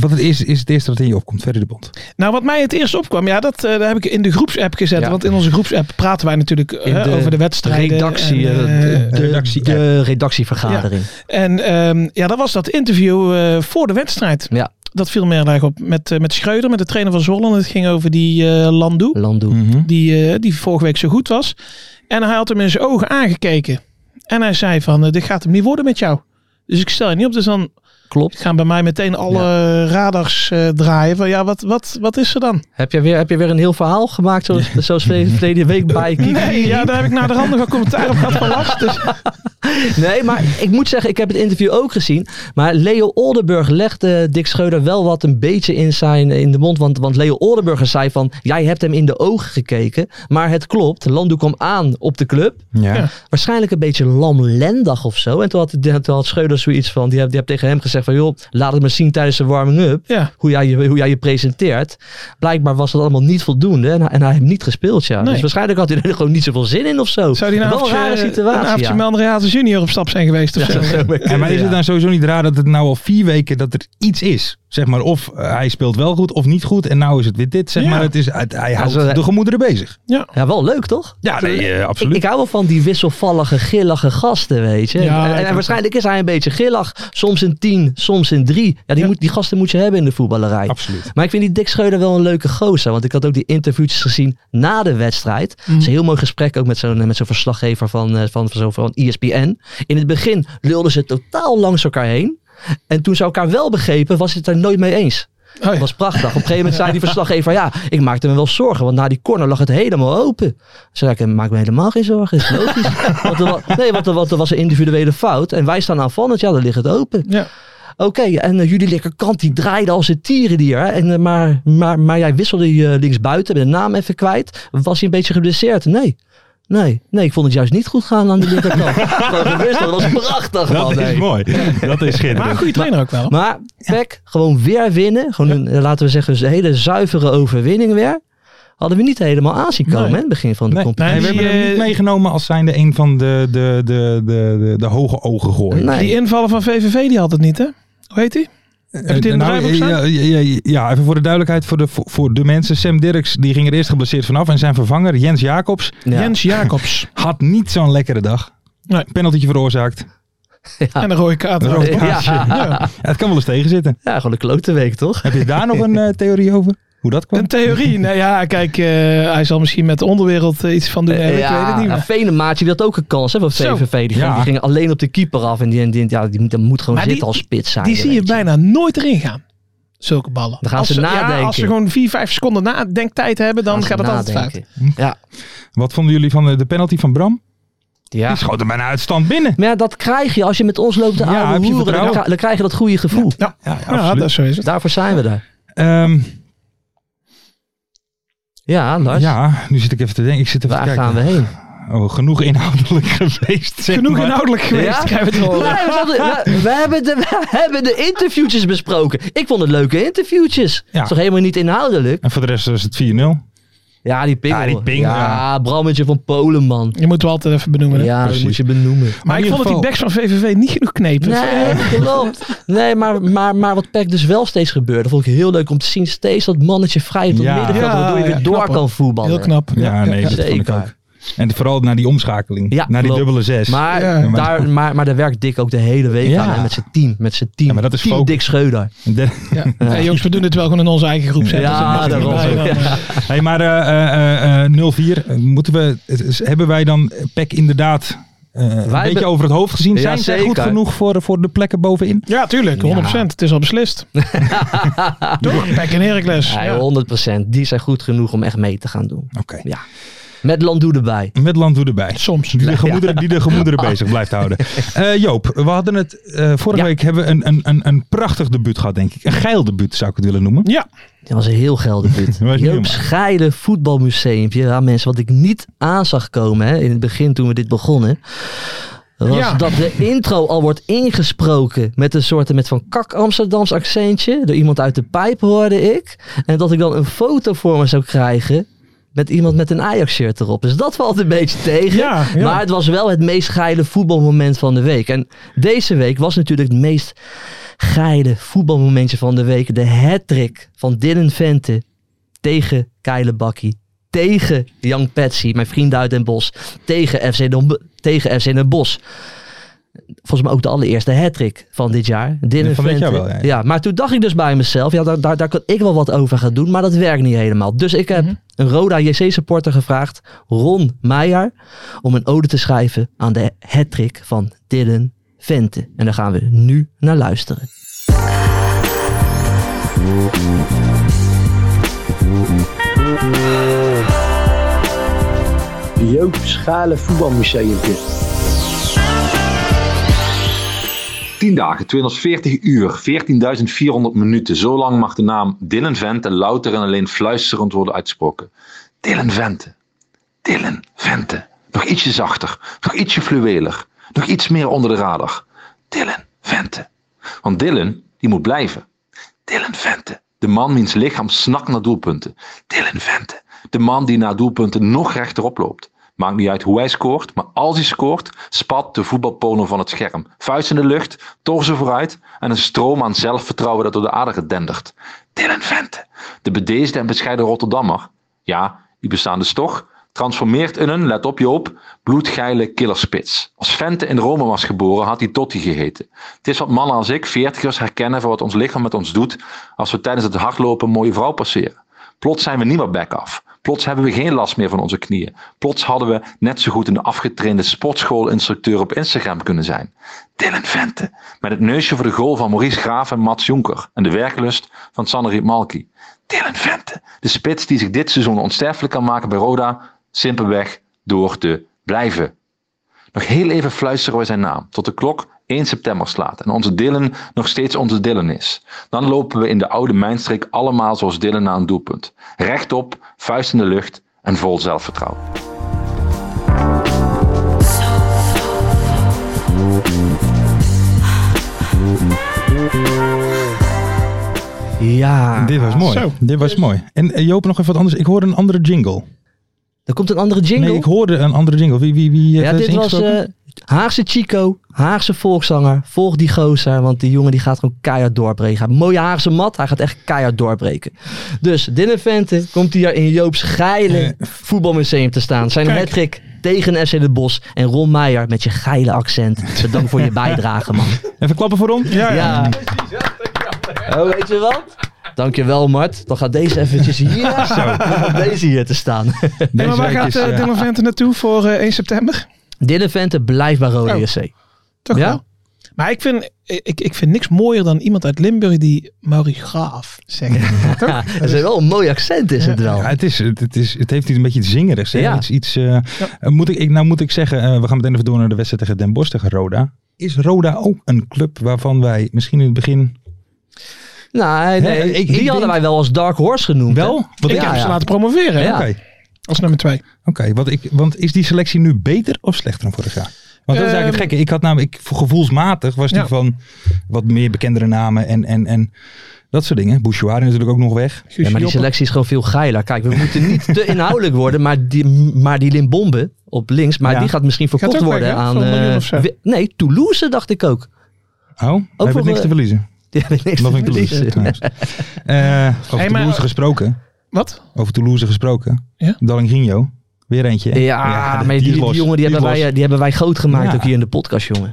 [SPEAKER 3] wat het is, is het eerste dat in je opkomt, verder de bond.
[SPEAKER 4] Nou, wat mij het eerst opkwam, ja, dat eh, daar heb ik in de groepsapp gezet.
[SPEAKER 5] Ja.
[SPEAKER 4] Want in onze groepsapp praten wij natuurlijk eh,
[SPEAKER 5] In de
[SPEAKER 4] over de wedstrijden.
[SPEAKER 5] redactie,
[SPEAKER 4] en,
[SPEAKER 5] eh,
[SPEAKER 4] eh,
[SPEAKER 5] de,
[SPEAKER 3] redactie-
[SPEAKER 5] de redactievergadering.
[SPEAKER 4] En ehm, ja, dat was dat interview eh, voor de wedstrijd.
[SPEAKER 5] Ja.
[SPEAKER 4] Dat viel me heel erg op. Met, eh, met Schreuder, met de trainer van Zwolle. En Het ging over die eh Landoe,
[SPEAKER 5] Landoe.
[SPEAKER 3] Mhm,
[SPEAKER 4] die, eh, die vorige week zo goed was. En hij had hem in zijn ogen aangekeken. En hij zei van, eh, dit gaat hem niet worden met jou. Dus ik stel je niet op. Dus dan
[SPEAKER 5] Klopt.
[SPEAKER 4] gaan bij mij meteen alle radars eh, draaien. Van ja, wat, wat, wat is er dan?
[SPEAKER 5] Heb jij weer, heb jij weer een heel verhaal gemaakt, zoals, zoals vele- verleden week bij Kiki?
[SPEAKER 4] Nee, ja, daar heb ik naar de handen nog commentaar op gehad van last. Dus
[SPEAKER 5] Nee, maar ik moet zeggen, ik heb het interview ook gezien. Maar Leo Oldenburg legde Dick Scheuder wel wat een beetje in, zijn, in de mond. Want, want Leo Oldenburg zei van, jij hebt hem in de ogen gekeken. Maar het klopt, Landoe kwam aan op de club.
[SPEAKER 3] Ja.
[SPEAKER 4] Ja.
[SPEAKER 5] Waarschijnlijk een beetje lamlendig of zo. En toen had, toen had Scheuder zoiets van, die heb, die heb tegen hem gezegd van... joh, laat het maar zien tijdens de warming-up.
[SPEAKER 4] ja,
[SPEAKER 5] Hoe jij, je, hoe jij je presenteert. Blijkbaar was dat allemaal niet voldoende. En, hij- en hij heeft niet gespeeld, ja.
[SPEAKER 4] Nee.
[SPEAKER 5] Dus waarschijnlijk had hij er gewoon niet zoveel zin in of zo.
[SPEAKER 4] zou die een
[SPEAKER 5] Wel een
[SPEAKER 4] avondje, eh,
[SPEAKER 5] rare situatie,
[SPEAKER 4] een avondje
[SPEAKER 5] ja.
[SPEAKER 4] met André Hazes junior op stap zijn geweest of
[SPEAKER 5] Ja,
[SPEAKER 4] zo.
[SPEAKER 5] dat zou best
[SPEAKER 3] En maar is
[SPEAKER 5] kunnen,
[SPEAKER 3] het
[SPEAKER 5] ja.
[SPEAKER 3] dan sowieso niet raar dat het nou al vier weken dat er iets is? Zeg maar, of eh, hij speelt wel goed of niet goed en nou is het weer dit. Zeg
[SPEAKER 4] Ja.
[SPEAKER 3] maar, het is, het- hij houdt
[SPEAKER 5] zo-
[SPEAKER 3] de gemoederen bezig.
[SPEAKER 5] Ja, wel leuk toch?
[SPEAKER 3] Ja, nee, eh,
[SPEAKER 5] Ik,
[SPEAKER 3] absoluut.
[SPEAKER 5] ik hou wel van die wisselvallige, gillige gasten, weet je.
[SPEAKER 4] Ja,
[SPEAKER 5] en,
[SPEAKER 4] ik
[SPEAKER 5] en
[SPEAKER 4] ook.
[SPEAKER 5] waarschijnlijk is hij een beetje gillig. Soms een tien, soms een drie. Ja, die,
[SPEAKER 4] Ja.
[SPEAKER 5] Moet, die gasten moet je hebben in de voetballerij.
[SPEAKER 3] absoluut.
[SPEAKER 5] Maar ik vind die Dick Scheuder wel een leuke gozer. Want ik had ook die interviewtjes gezien na de wedstrijd. Het is een heel mooi gesprek ook met zo'n eh, met zo'n verslaggever van, eh, van, van, zo- van ESPN. In het begin lulden ze totaal langs elkaar heen. En toen ze elkaar wel begrepen, was het er nooit mee eens.
[SPEAKER 4] Oh ja.
[SPEAKER 5] Dat was prachtig. Op een gegeven moment zei die verslaggever, ja, ik maakte me wel zorgen, want na die corner lag het helemaal open. Zei ik, maak me helemaal geen zorgen, is logisch. want er wa- nee, want er, want er was een individuele fout en wij staan aanvallend, ja, dan ligt het open.
[SPEAKER 4] Ja.
[SPEAKER 5] Oké, en eh, jullie linkerkant die draaide als een tierendier. Hè? En, eh, maar, maar, maar jij wisselde je linksbuiten, ben de naam even kwijt. Was hij een beetje geblesseerd? Nee. Nee, nee, ik vond het juist niet goed gaan aan de linkerkant. Gewoon gerust, dat was prachtig. man,
[SPEAKER 3] Dat
[SPEAKER 5] hey.
[SPEAKER 3] is mooi. Dat is
[SPEAKER 4] Maar een
[SPEAKER 3] schitterend.
[SPEAKER 4] goede trainer ook wel. hoor.
[SPEAKER 5] Maar Peck, gewoon weer winnen. Gewoon een, eh, laten we zeggen, een hele zuivere overwinning weer. Hadden we niet helemaal aan zien komen
[SPEAKER 4] Nee.
[SPEAKER 5] hè, in het begin van de
[SPEAKER 3] Nee,
[SPEAKER 5] competitie.
[SPEAKER 3] nee, we hebben hem
[SPEAKER 4] die,
[SPEAKER 3] niet
[SPEAKER 4] eh,
[SPEAKER 3] meegenomen als zijnde een van de, de, de, de, de, de hoge ogen gooien.
[SPEAKER 5] Nee.
[SPEAKER 4] Die invallen van VVV die had het niet, hè? Hoe heet die?
[SPEAKER 3] Eh,
[SPEAKER 4] je het in het draaiboek staan?
[SPEAKER 3] ja, ja, ja, ja, even voor de duidelijkheid voor de, voor, voor de mensen. Sam Dirks die ging er eerst geblesseerd vanaf. En zijn vervanger Jens Jacobs
[SPEAKER 5] Ja.
[SPEAKER 4] Jens Jacobs.
[SPEAKER 3] had niet zo'n lekkere dag.
[SPEAKER 4] Nee.
[SPEAKER 3] Penaltytje veroorzaakt.
[SPEAKER 4] En een rode kaart.
[SPEAKER 3] Een rode
[SPEAKER 5] Ja.
[SPEAKER 3] kaartje. Ja, het kan wel eens tegenzitten.
[SPEAKER 5] Ja, gewoon een klote week, toch?
[SPEAKER 3] Heb je daar nog een eh, theorie over? Hoe dat kwam?
[SPEAKER 4] Een theorie. Nou ja, kijk, eh, hij zal misschien met de onderwereld eh, iets van doen. hebben. ik weet het niet
[SPEAKER 5] ja,
[SPEAKER 4] meer.
[SPEAKER 5] Venemaatje, die had ook een kans hè, van
[SPEAKER 4] Zo.
[SPEAKER 5] VVV. Die, ging,
[SPEAKER 3] Ja.
[SPEAKER 5] die ging alleen op de keeper af. En die, en die, ja, die, moet- dat moet gewoon
[SPEAKER 4] Maar die-
[SPEAKER 5] zitten als spits zijn.
[SPEAKER 4] Die zie je
[SPEAKER 5] weet
[SPEAKER 4] bijna nooit erin gaan. Zulke ballen.
[SPEAKER 5] Dan gaan
[SPEAKER 4] als
[SPEAKER 5] ze nadenken.
[SPEAKER 4] Ja, als ze gewoon vier, vijf seconden nadenktijd hebben, dan
[SPEAKER 5] Gaan ze
[SPEAKER 4] gaat het altijd fout.
[SPEAKER 5] nadenken. Ja,
[SPEAKER 3] Wat vonden jullie van eh, de penalty van Bram?
[SPEAKER 5] ja.
[SPEAKER 3] Die schoot er bijna uitstand binnen.
[SPEAKER 5] Dus- Maar ja, dat krijg je als je met ons loopt te
[SPEAKER 3] Ja,
[SPEAKER 5] oude
[SPEAKER 3] heb je
[SPEAKER 5] hoeren. Dan,
[SPEAKER 3] vertrouwen?
[SPEAKER 5] kri- dan krijg je dat goede gevoel. Dus
[SPEAKER 4] Ja,
[SPEAKER 3] Ja, dus,
[SPEAKER 4] ja, dat zo is het.
[SPEAKER 5] Daarvoor zijn we daar.
[SPEAKER 3] Ehm,
[SPEAKER 5] Ja, Lars.
[SPEAKER 3] ja, nu zit ik even te denken. Ik zit even
[SPEAKER 5] Waar
[SPEAKER 3] te
[SPEAKER 5] gaan
[SPEAKER 3] kijken.
[SPEAKER 5] we heen?
[SPEAKER 3] Oh, genoeg inhoudelijk geweest. zeg
[SPEAKER 4] Genoeg
[SPEAKER 3] maar.
[SPEAKER 4] inhoudelijk geweest. krijgen we het eh, te horen.
[SPEAKER 5] Nee, we, zaten- we- we hebben de, we hebben de interviewtjes besproken. Ik vond het leuke interviewtjes.
[SPEAKER 3] Ja.
[SPEAKER 5] Is toch helemaal niet inhoudelijk?
[SPEAKER 3] En voor de rest was het 4-0.
[SPEAKER 5] Ja, die pingel.
[SPEAKER 3] Ja, die pingel, ja.
[SPEAKER 5] Brammetje van Polen, man.
[SPEAKER 4] Je moet wel altijd even benoemen. hè?
[SPEAKER 5] Ja, dat
[SPEAKER 3] Precies.
[SPEAKER 5] moet je benoemen.
[SPEAKER 4] Maar,
[SPEAKER 3] in
[SPEAKER 4] ik
[SPEAKER 3] ieder
[SPEAKER 4] vond dat die
[SPEAKER 3] geval-
[SPEAKER 4] backs van VVV niet genoeg knepen. Eh,
[SPEAKER 5] Nee, klopt. Nee, maar, maar, maar wat Peck dus wel steeds gebeurde, vond ik heel leuk om te zien. Steeds dat mannetje vrij tot
[SPEAKER 3] Ja.
[SPEAKER 5] middenveld,
[SPEAKER 4] Ja,
[SPEAKER 5] waardoor je weer
[SPEAKER 4] ja,
[SPEAKER 5] door
[SPEAKER 4] knap, hoor.
[SPEAKER 5] kan voetballen.
[SPEAKER 4] Heel knap.
[SPEAKER 3] Ja, nee, dat vond ik
[SPEAKER 5] Zeker.
[SPEAKER 3] ook. En vooral naar die omschakeling.
[SPEAKER 5] Ja,
[SPEAKER 3] naar die
[SPEAKER 5] klopt.
[SPEAKER 3] dubbele zes.
[SPEAKER 5] Maar,
[SPEAKER 4] Ja.
[SPEAKER 5] daar, maar, maar daar werkt Dick ook de hele week
[SPEAKER 3] Ja.
[SPEAKER 5] aan. hè, Met zijn team. Met zijn team.
[SPEAKER 3] Ja, maar dat is
[SPEAKER 5] team
[SPEAKER 3] focus.
[SPEAKER 5] Dick Scheuder.
[SPEAKER 3] De-
[SPEAKER 4] Ja. Nee, jongens, we doen het wel gewoon in onze eigen groep. hè.
[SPEAKER 5] Ja,
[SPEAKER 4] Dus dat
[SPEAKER 5] daarom.
[SPEAKER 4] mag niet bij, dan, eh.
[SPEAKER 3] hey, maar eh, eh, eh, eh, 0-4. eh, Moeten we, het is- hebben wij dan eh, PEC inderdaad eh, eh, een
[SPEAKER 5] Wij
[SPEAKER 3] beetje
[SPEAKER 5] be-
[SPEAKER 3] over het hoofd gezien.
[SPEAKER 5] Ja,
[SPEAKER 3] Zijn zij goed
[SPEAKER 5] zeker.
[SPEAKER 3] genoeg voor, voor de plekken bovenin?
[SPEAKER 4] Ja, tuurlijk. 100%. Het is al beslist. Toch? Pek en Heracles.
[SPEAKER 5] Ja,
[SPEAKER 4] Ja.
[SPEAKER 5] 100%. Die zijn goed genoeg om echt mee te gaan doen.
[SPEAKER 3] Oké.
[SPEAKER 5] Ja. Met Landoe erbij.
[SPEAKER 3] Met landdoe erbij.
[SPEAKER 4] Soms.
[SPEAKER 3] Die de gemoederen, die de gemoederen bezig blijft houden. Eh, Joop, we hadden het eh, vorige
[SPEAKER 5] Ja.
[SPEAKER 3] week hebben we een, een, een, een prachtig debuut gehad, denk ik. Een geil debuut zou ik het willen noemen.
[SPEAKER 4] Ja,
[SPEAKER 5] Dat was een heel geldig put.
[SPEAKER 3] niet
[SPEAKER 5] Joop
[SPEAKER 3] normaal.
[SPEAKER 5] Scheile voetbalmuseumpje. Ja, mensen, wat ik niet aan zag komen hè, in het begin toen we dit begonnen. Was
[SPEAKER 4] Ja.
[SPEAKER 5] dat de intro al wordt ingesproken met een soort met van kak Amsterdams accentje. Door iemand uit de pijp hoorde ik. En dat ik dan een foto voor me zou krijgen. Met iemand met een Ajax-shirt erop. Dus dat valt een beetje tegen.
[SPEAKER 4] Ja, ja.
[SPEAKER 5] Maar het was wel het meest geile voetbalmoment van de week. En deze week was natuurlijk het meest geile voetbalmomentje van de week. De hat-trick van Dylan Vente tegen Keile Bakkie. Tegen Jan Patsy, mijn vriend uit Den Bosch. Tegen FC Den, tegen FC Den Bosch. Volgens mij ook de allereerste hat-trick van dit jaar. Dylan
[SPEAKER 3] Van dit
[SPEAKER 5] Vente.
[SPEAKER 3] jaar wel, ja, ja.
[SPEAKER 5] maar toen dacht ik dus bij mezelf, ja, daar, daar, daar kan ik wel wat over gaan doen. Maar dat werkt niet helemaal. Dus ik heb een Roda JC-supporter gevraagd, Ron Meijer, om een ode te schrijven aan de hat-trick van Dylan Vente. En daar gaan we nu naar luisteren.
[SPEAKER 6] Joop Schalen Voetbalmuseumpje.
[SPEAKER 7] 10 dagen, 240 uur, 14.400 minuten. Zo lang mag de naam Dylan Vente louter en alleen fluisterend worden uitgesproken. Dylan Vente. Dylan Vente. Nog ietsje zachter, nog ietsje fluweler, nog iets meer onder de radar. Dylan Vente. Want Dylan, die moet blijven. Dylan Vente. De man wiens lichaam snakt naar doelpunten. Dylan Vente. De man die naar doelpunten nog rechterop loopt. Maakt niet uit hoe hij scoort, maar als hij scoort, spat de voetbalpono van het scherm. Vuist in de lucht, torsen vooruit en een stroom aan zelfvertrouwen dat door de aarde dendert. Dylan Vente. De bedeesde en bescheiden Rotterdammer. Ja, die bestaan dus toch. Transformeert in een, let op Joop, bloedgeile killerspits. Als Vente in Rome was geboren, had hij Totti geheten. Het is wat mannen als ik, veertigers, herkennen van wat ons lichaam met ons doet als we tijdens het hardlopen een mooie vrouw passeren. Plots zijn we niet meer back af. Plots hebben we geen last meer van onze knieën. Plots hadden we net zo goed een afgetrainde sportschoolinstructeur op Instagram kunnen zijn. Dylan Vente, met het neusje voor de goal van Maurice Graaf en Mats Jonker en de werklust van Sannerit Malki. Dylan Vente, de spits die zich dit seizoen onsterfelijk kan maken bij Roda, simpelweg door te blijven. Nog heel even fluisteren we zijn naam, tot de klok 1 september slaat en onze Dylan nog steeds onze Dylan is. Dan lopen we in de oude mijnstreek allemaal zoals Dylan naar een doelpunt. Rechtop, vuist in de lucht en vol zelfvertrouwen.
[SPEAKER 5] Ja.
[SPEAKER 3] Dit was mooi.
[SPEAKER 4] Zo.
[SPEAKER 3] Dit was mooi. En eh, Joop, nog even wat anders. Ik hoorde een andere jingle.
[SPEAKER 5] Er komt een andere jingle.
[SPEAKER 3] Nee, ik hoorde een andere jingle. Wie, wie, wie heeft
[SPEAKER 5] ja,
[SPEAKER 3] dat
[SPEAKER 5] dit was
[SPEAKER 3] ingesproken?
[SPEAKER 5] eh, Haagse Chico, Haagse volkszanger. Volg die gozer, want die jongen die gaat gewoon keihard doorbreken. Hij heeft een mooie Haagse mat, hij gaat echt keihard doorbreken. Dus Dylan Vente komt hier in Joop's geile voetbalmuseum te staan. Zijn
[SPEAKER 4] Kijk.
[SPEAKER 5] hat-trick tegen FC De Bos en Ron Meijer met je geile accent. Bedankt voor je bijdrage, man.
[SPEAKER 3] Even klappen voor ons.
[SPEAKER 4] ja, ja.
[SPEAKER 5] Ja. Oh, weet je wat? Dankjewel, Mart. Dan gaat deze eventjes hier. Zo. Deze hier te staan.
[SPEAKER 4] Hey, maar waar
[SPEAKER 3] week
[SPEAKER 4] gaat
[SPEAKER 3] is,
[SPEAKER 4] eh,
[SPEAKER 3] eh,
[SPEAKER 4] Dylan Vente naartoe voor eh, 1 september?
[SPEAKER 5] Dylan Vente blijft bij Rode
[SPEAKER 4] Oh.
[SPEAKER 5] JC.
[SPEAKER 4] Toch
[SPEAKER 5] Ja?
[SPEAKER 4] wel? Maar ik vind, ik, ik vind niks mooier dan iemand uit Limburg die Mauri Graaf zegt. Toch?
[SPEAKER 5] Ja, dus- dat is wel een mooi accent is het wel.
[SPEAKER 3] Ja, Nou, het, is, het, het is, het heeft iets een beetje iets zingerigs. hè?
[SPEAKER 5] Ja.
[SPEAKER 3] Iets, iets, eh, eh, moet ik, ik, nou moet ik zeggen, eh, we gaan meteen even door naar de wedstrijd tegen Den Bosch tegen Roda. Is Roda ook een club waarvan wij misschien in het begin
[SPEAKER 5] Nou, nee,
[SPEAKER 3] Hè, ik- ik
[SPEAKER 5] die
[SPEAKER 3] denk-
[SPEAKER 5] hadden wij wel als Dark Horse genoemd. hè?
[SPEAKER 3] wel? Wat
[SPEAKER 4] Ik
[SPEAKER 3] ik-
[SPEAKER 5] Ja,
[SPEAKER 4] heb
[SPEAKER 5] ja.
[SPEAKER 4] ze laten promoveren hè,
[SPEAKER 5] Ja.
[SPEAKER 3] Oké,
[SPEAKER 4] als nummer 2.
[SPEAKER 3] oké, want ik, want is die selectie nu beter of slechter dan vorig jaar? Want dat is eigenlijk het
[SPEAKER 4] Ehm,
[SPEAKER 3] gekke. Ik had namelijk, ik, gevoelsmatig was die
[SPEAKER 4] Ja.
[SPEAKER 3] van wat meer bekendere namen en, en, en dat soort dingen. Bouchoir is natuurlijk ook nog weg.
[SPEAKER 5] Ja, maar die selectie is gewoon veel geiler. Kijk, we moeten niet te inhoudelijk worden, maar die, maar die Limbombe op links, maar
[SPEAKER 3] Ja.
[SPEAKER 5] die gaat misschien verkocht
[SPEAKER 4] ook weg,
[SPEAKER 5] worden
[SPEAKER 4] hè?
[SPEAKER 5] aan...
[SPEAKER 4] Voor een miljoen
[SPEAKER 5] eh,
[SPEAKER 4] of zo.
[SPEAKER 5] we- nee, Toulouse dacht ik ook.
[SPEAKER 3] Oh, we hebben
[SPEAKER 5] voor,
[SPEAKER 3] niks te
[SPEAKER 5] eh,
[SPEAKER 3] verliezen.
[SPEAKER 5] Die hebben niks
[SPEAKER 3] Dat
[SPEAKER 5] te
[SPEAKER 3] vind ik Toulouse.
[SPEAKER 5] verliezen.
[SPEAKER 3] trouwens. Eh, over
[SPEAKER 4] Hey, maar-
[SPEAKER 3] Toulouse gesproken.
[SPEAKER 4] Wat?
[SPEAKER 3] Over Toulouse gesproken.
[SPEAKER 4] Ja?
[SPEAKER 3] Dalinginho. Weer eentje. hè?
[SPEAKER 5] Ja,
[SPEAKER 3] de-
[SPEAKER 5] maar die,
[SPEAKER 3] is
[SPEAKER 5] die
[SPEAKER 3] los.
[SPEAKER 5] jongen die
[SPEAKER 3] is
[SPEAKER 5] hebben,
[SPEAKER 3] los.
[SPEAKER 5] wij, eh, die hebben wij groot gemaakt
[SPEAKER 3] Ja.
[SPEAKER 5] ook hier in de podcast, jongen.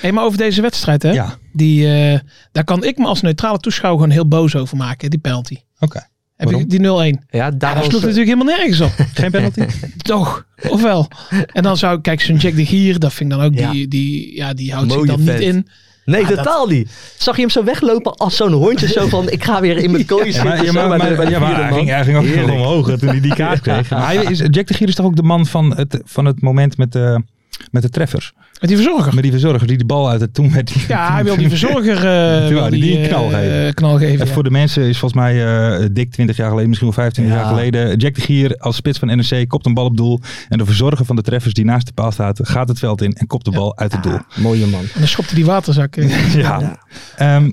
[SPEAKER 4] Hey, maar over deze wedstrijd, hè?
[SPEAKER 3] Ja,
[SPEAKER 4] Die, eh, daar kan ik me als neutrale toeschouwer gewoon heel boos over maken, die penalty.
[SPEAKER 3] oké.
[SPEAKER 4] Hè, Heb je
[SPEAKER 3] Waarom?
[SPEAKER 4] die 0-1. Ja,
[SPEAKER 5] Ja, daar
[SPEAKER 4] dat
[SPEAKER 5] was-
[SPEAKER 4] sloeg natuurlijk helemaal nergens op.
[SPEAKER 3] Geen penalty?
[SPEAKER 4] Toch? Ofwel. En dan zou ik, kijk, zo'n Jack de Gier, dat vind ik dan ook,
[SPEAKER 5] Ja.
[SPEAKER 4] die, die, ja, die houdt
[SPEAKER 5] Mooie
[SPEAKER 4] zich dan
[SPEAKER 5] vent.
[SPEAKER 4] niet in.
[SPEAKER 5] Nee,
[SPEAKER 4] Ah, dat-
[SPEAKER 5] totaal niet. Zag je hem zo weglopen als zo'n hondje? Zo van, ik ga weer in mijn kooi
[SPEAKER 3] Ja,
[SPEAKER 5] zitten.
[SPEAKER 3] maar, ja,
[SPEAKER 5] zo
[SPEAKER 3] maar,
[SPEAKER 5] bij de- bij
[SPEAKER 3] maar-
[SPEAKER 5] de
[SPEAKER 3] ja, maar
[SPEAKER 5] vierde
[SPEAKER 3] hij,
[SPEAKER 5] man.
[SPEAKER 3] ging, hij ging ook
[SPEAKER 5] Heerlijk.
[SPEAKER 3] nog omhoog hè, toen hij die kaart kreeg. Maar hij is, Jack de Gier is toch ook de man van het, van het moment met de, met de treffers.
[SPEAKER 4] Met die verzorger.
[SPEAKER 3] Met die verzorger die de bal uit het toen werd.
[SPEAKER 4] Ja, hij wil die verzorger eh,
[SPEAKER 3] Toen wou
[SPEAKER 4] wil
[SPEAKER 3] hij die
[SPEAKER 4] eh,
[SPEAKER 3] knal geven.
[SPEAKER 4] eh, knal geven,
[SPEAKER 3] Even
[SPEAKER 4] ja.
[SPEAKER 3] voor de mensen is volgens mij eh, dik 20 jaar geleden, misschien wel 25
[SPEAKER 5] Ja.
[SPEAKER 3] jaar geleden. Jack de Gier als spits van NEC kopt een bal op doel. En de verzorger van de treffers die naast de paal staat, gaat het veld in en kopt de bal uit het doel.
[SPEAKER 5] Mooie man.
[SPEAKER 4] En dan schopte die waterzak. eh.
[SPEAKER 3] Ja. Ehm,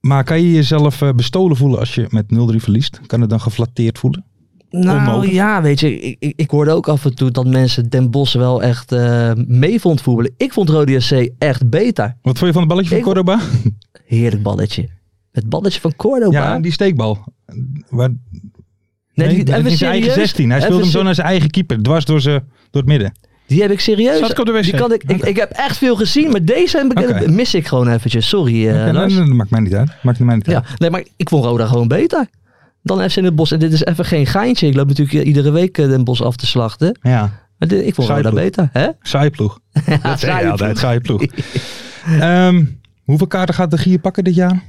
[SPEAKER 3] maar kan je jezelf eh, bestolen voelen als je met 0-3 verliest? Kan het dan geflatteerd voelen?
[SPEAKER 5] Nou
[SPEAKER 3] Onmogelijk.
[SPEAKER 5] ja, weet je, ik, ik, ik hoorde ook af en toe dat mensen Den Bos wel echt eh, mee vond voetballen. Ik vond Rode SC echt beter.
[SPEAKER 3] Wat vond je van het balletje van
[SPEAKER 5] Ik-
[SPEAKER 3] Cordoba?
[SPEAKER 5] Heerlijk balletje. Het balletje van Cordoba.
[SPEAKER 3] Ja, die steekbal. Waar,
[SPEAKER 5] nee,
[SPEAKER 3] nee, dat
[SPEAKER 5] even
[SPEAKER 3] is in zijn eigen
[SPEAKER 5] serieus,
[SPEAKER 3] 16. Hij speelde
[SPEAKER 5] even
[SPEAKER 3] hem zo naar zijn eigen keeper, dwars door, ze, door het midden.
[SPEAKER 5] Die heb ik serieus.
[SPEAKER 4] Zat ik op de wc?
[SPEAKER 5] Die kan ik, ik, ik heb echt veel gezien, maar deze heb ik,
[SPEAKER 3] Oké.
[SPEAKER 5] mis ik gewoon eventjes. Sorry, eh,
[SPEAKER 3] Oké, nou,
[SPEAKER 5] Lars.
[SPEAKER 3] nou, dat maakt mij niet uit. Maakt mij niet uit.
[SPEAKER 5] Ja, nee, maar ik vond Roda gewoon beter dan FC Den Bos. En dit is even geen geintje. Ik loop natuurlijk eh, iedere week eh, Den Bos af te slachten.
[SPEAKER 3] Ja.
[SPEAKER 5] Maar dit- ik vond
[SPEAKER 3] Saai
[SPEAKER 5] Roda beter. Hè?
[SPEAKER 3] Saaie ploeg. dat zei
[SPEAKER 5] saaie
[SPEAKER 3] je altijd, saaie ploeg. Ehm, hoeveel kaarten gaat de Gier pakken dit jaar?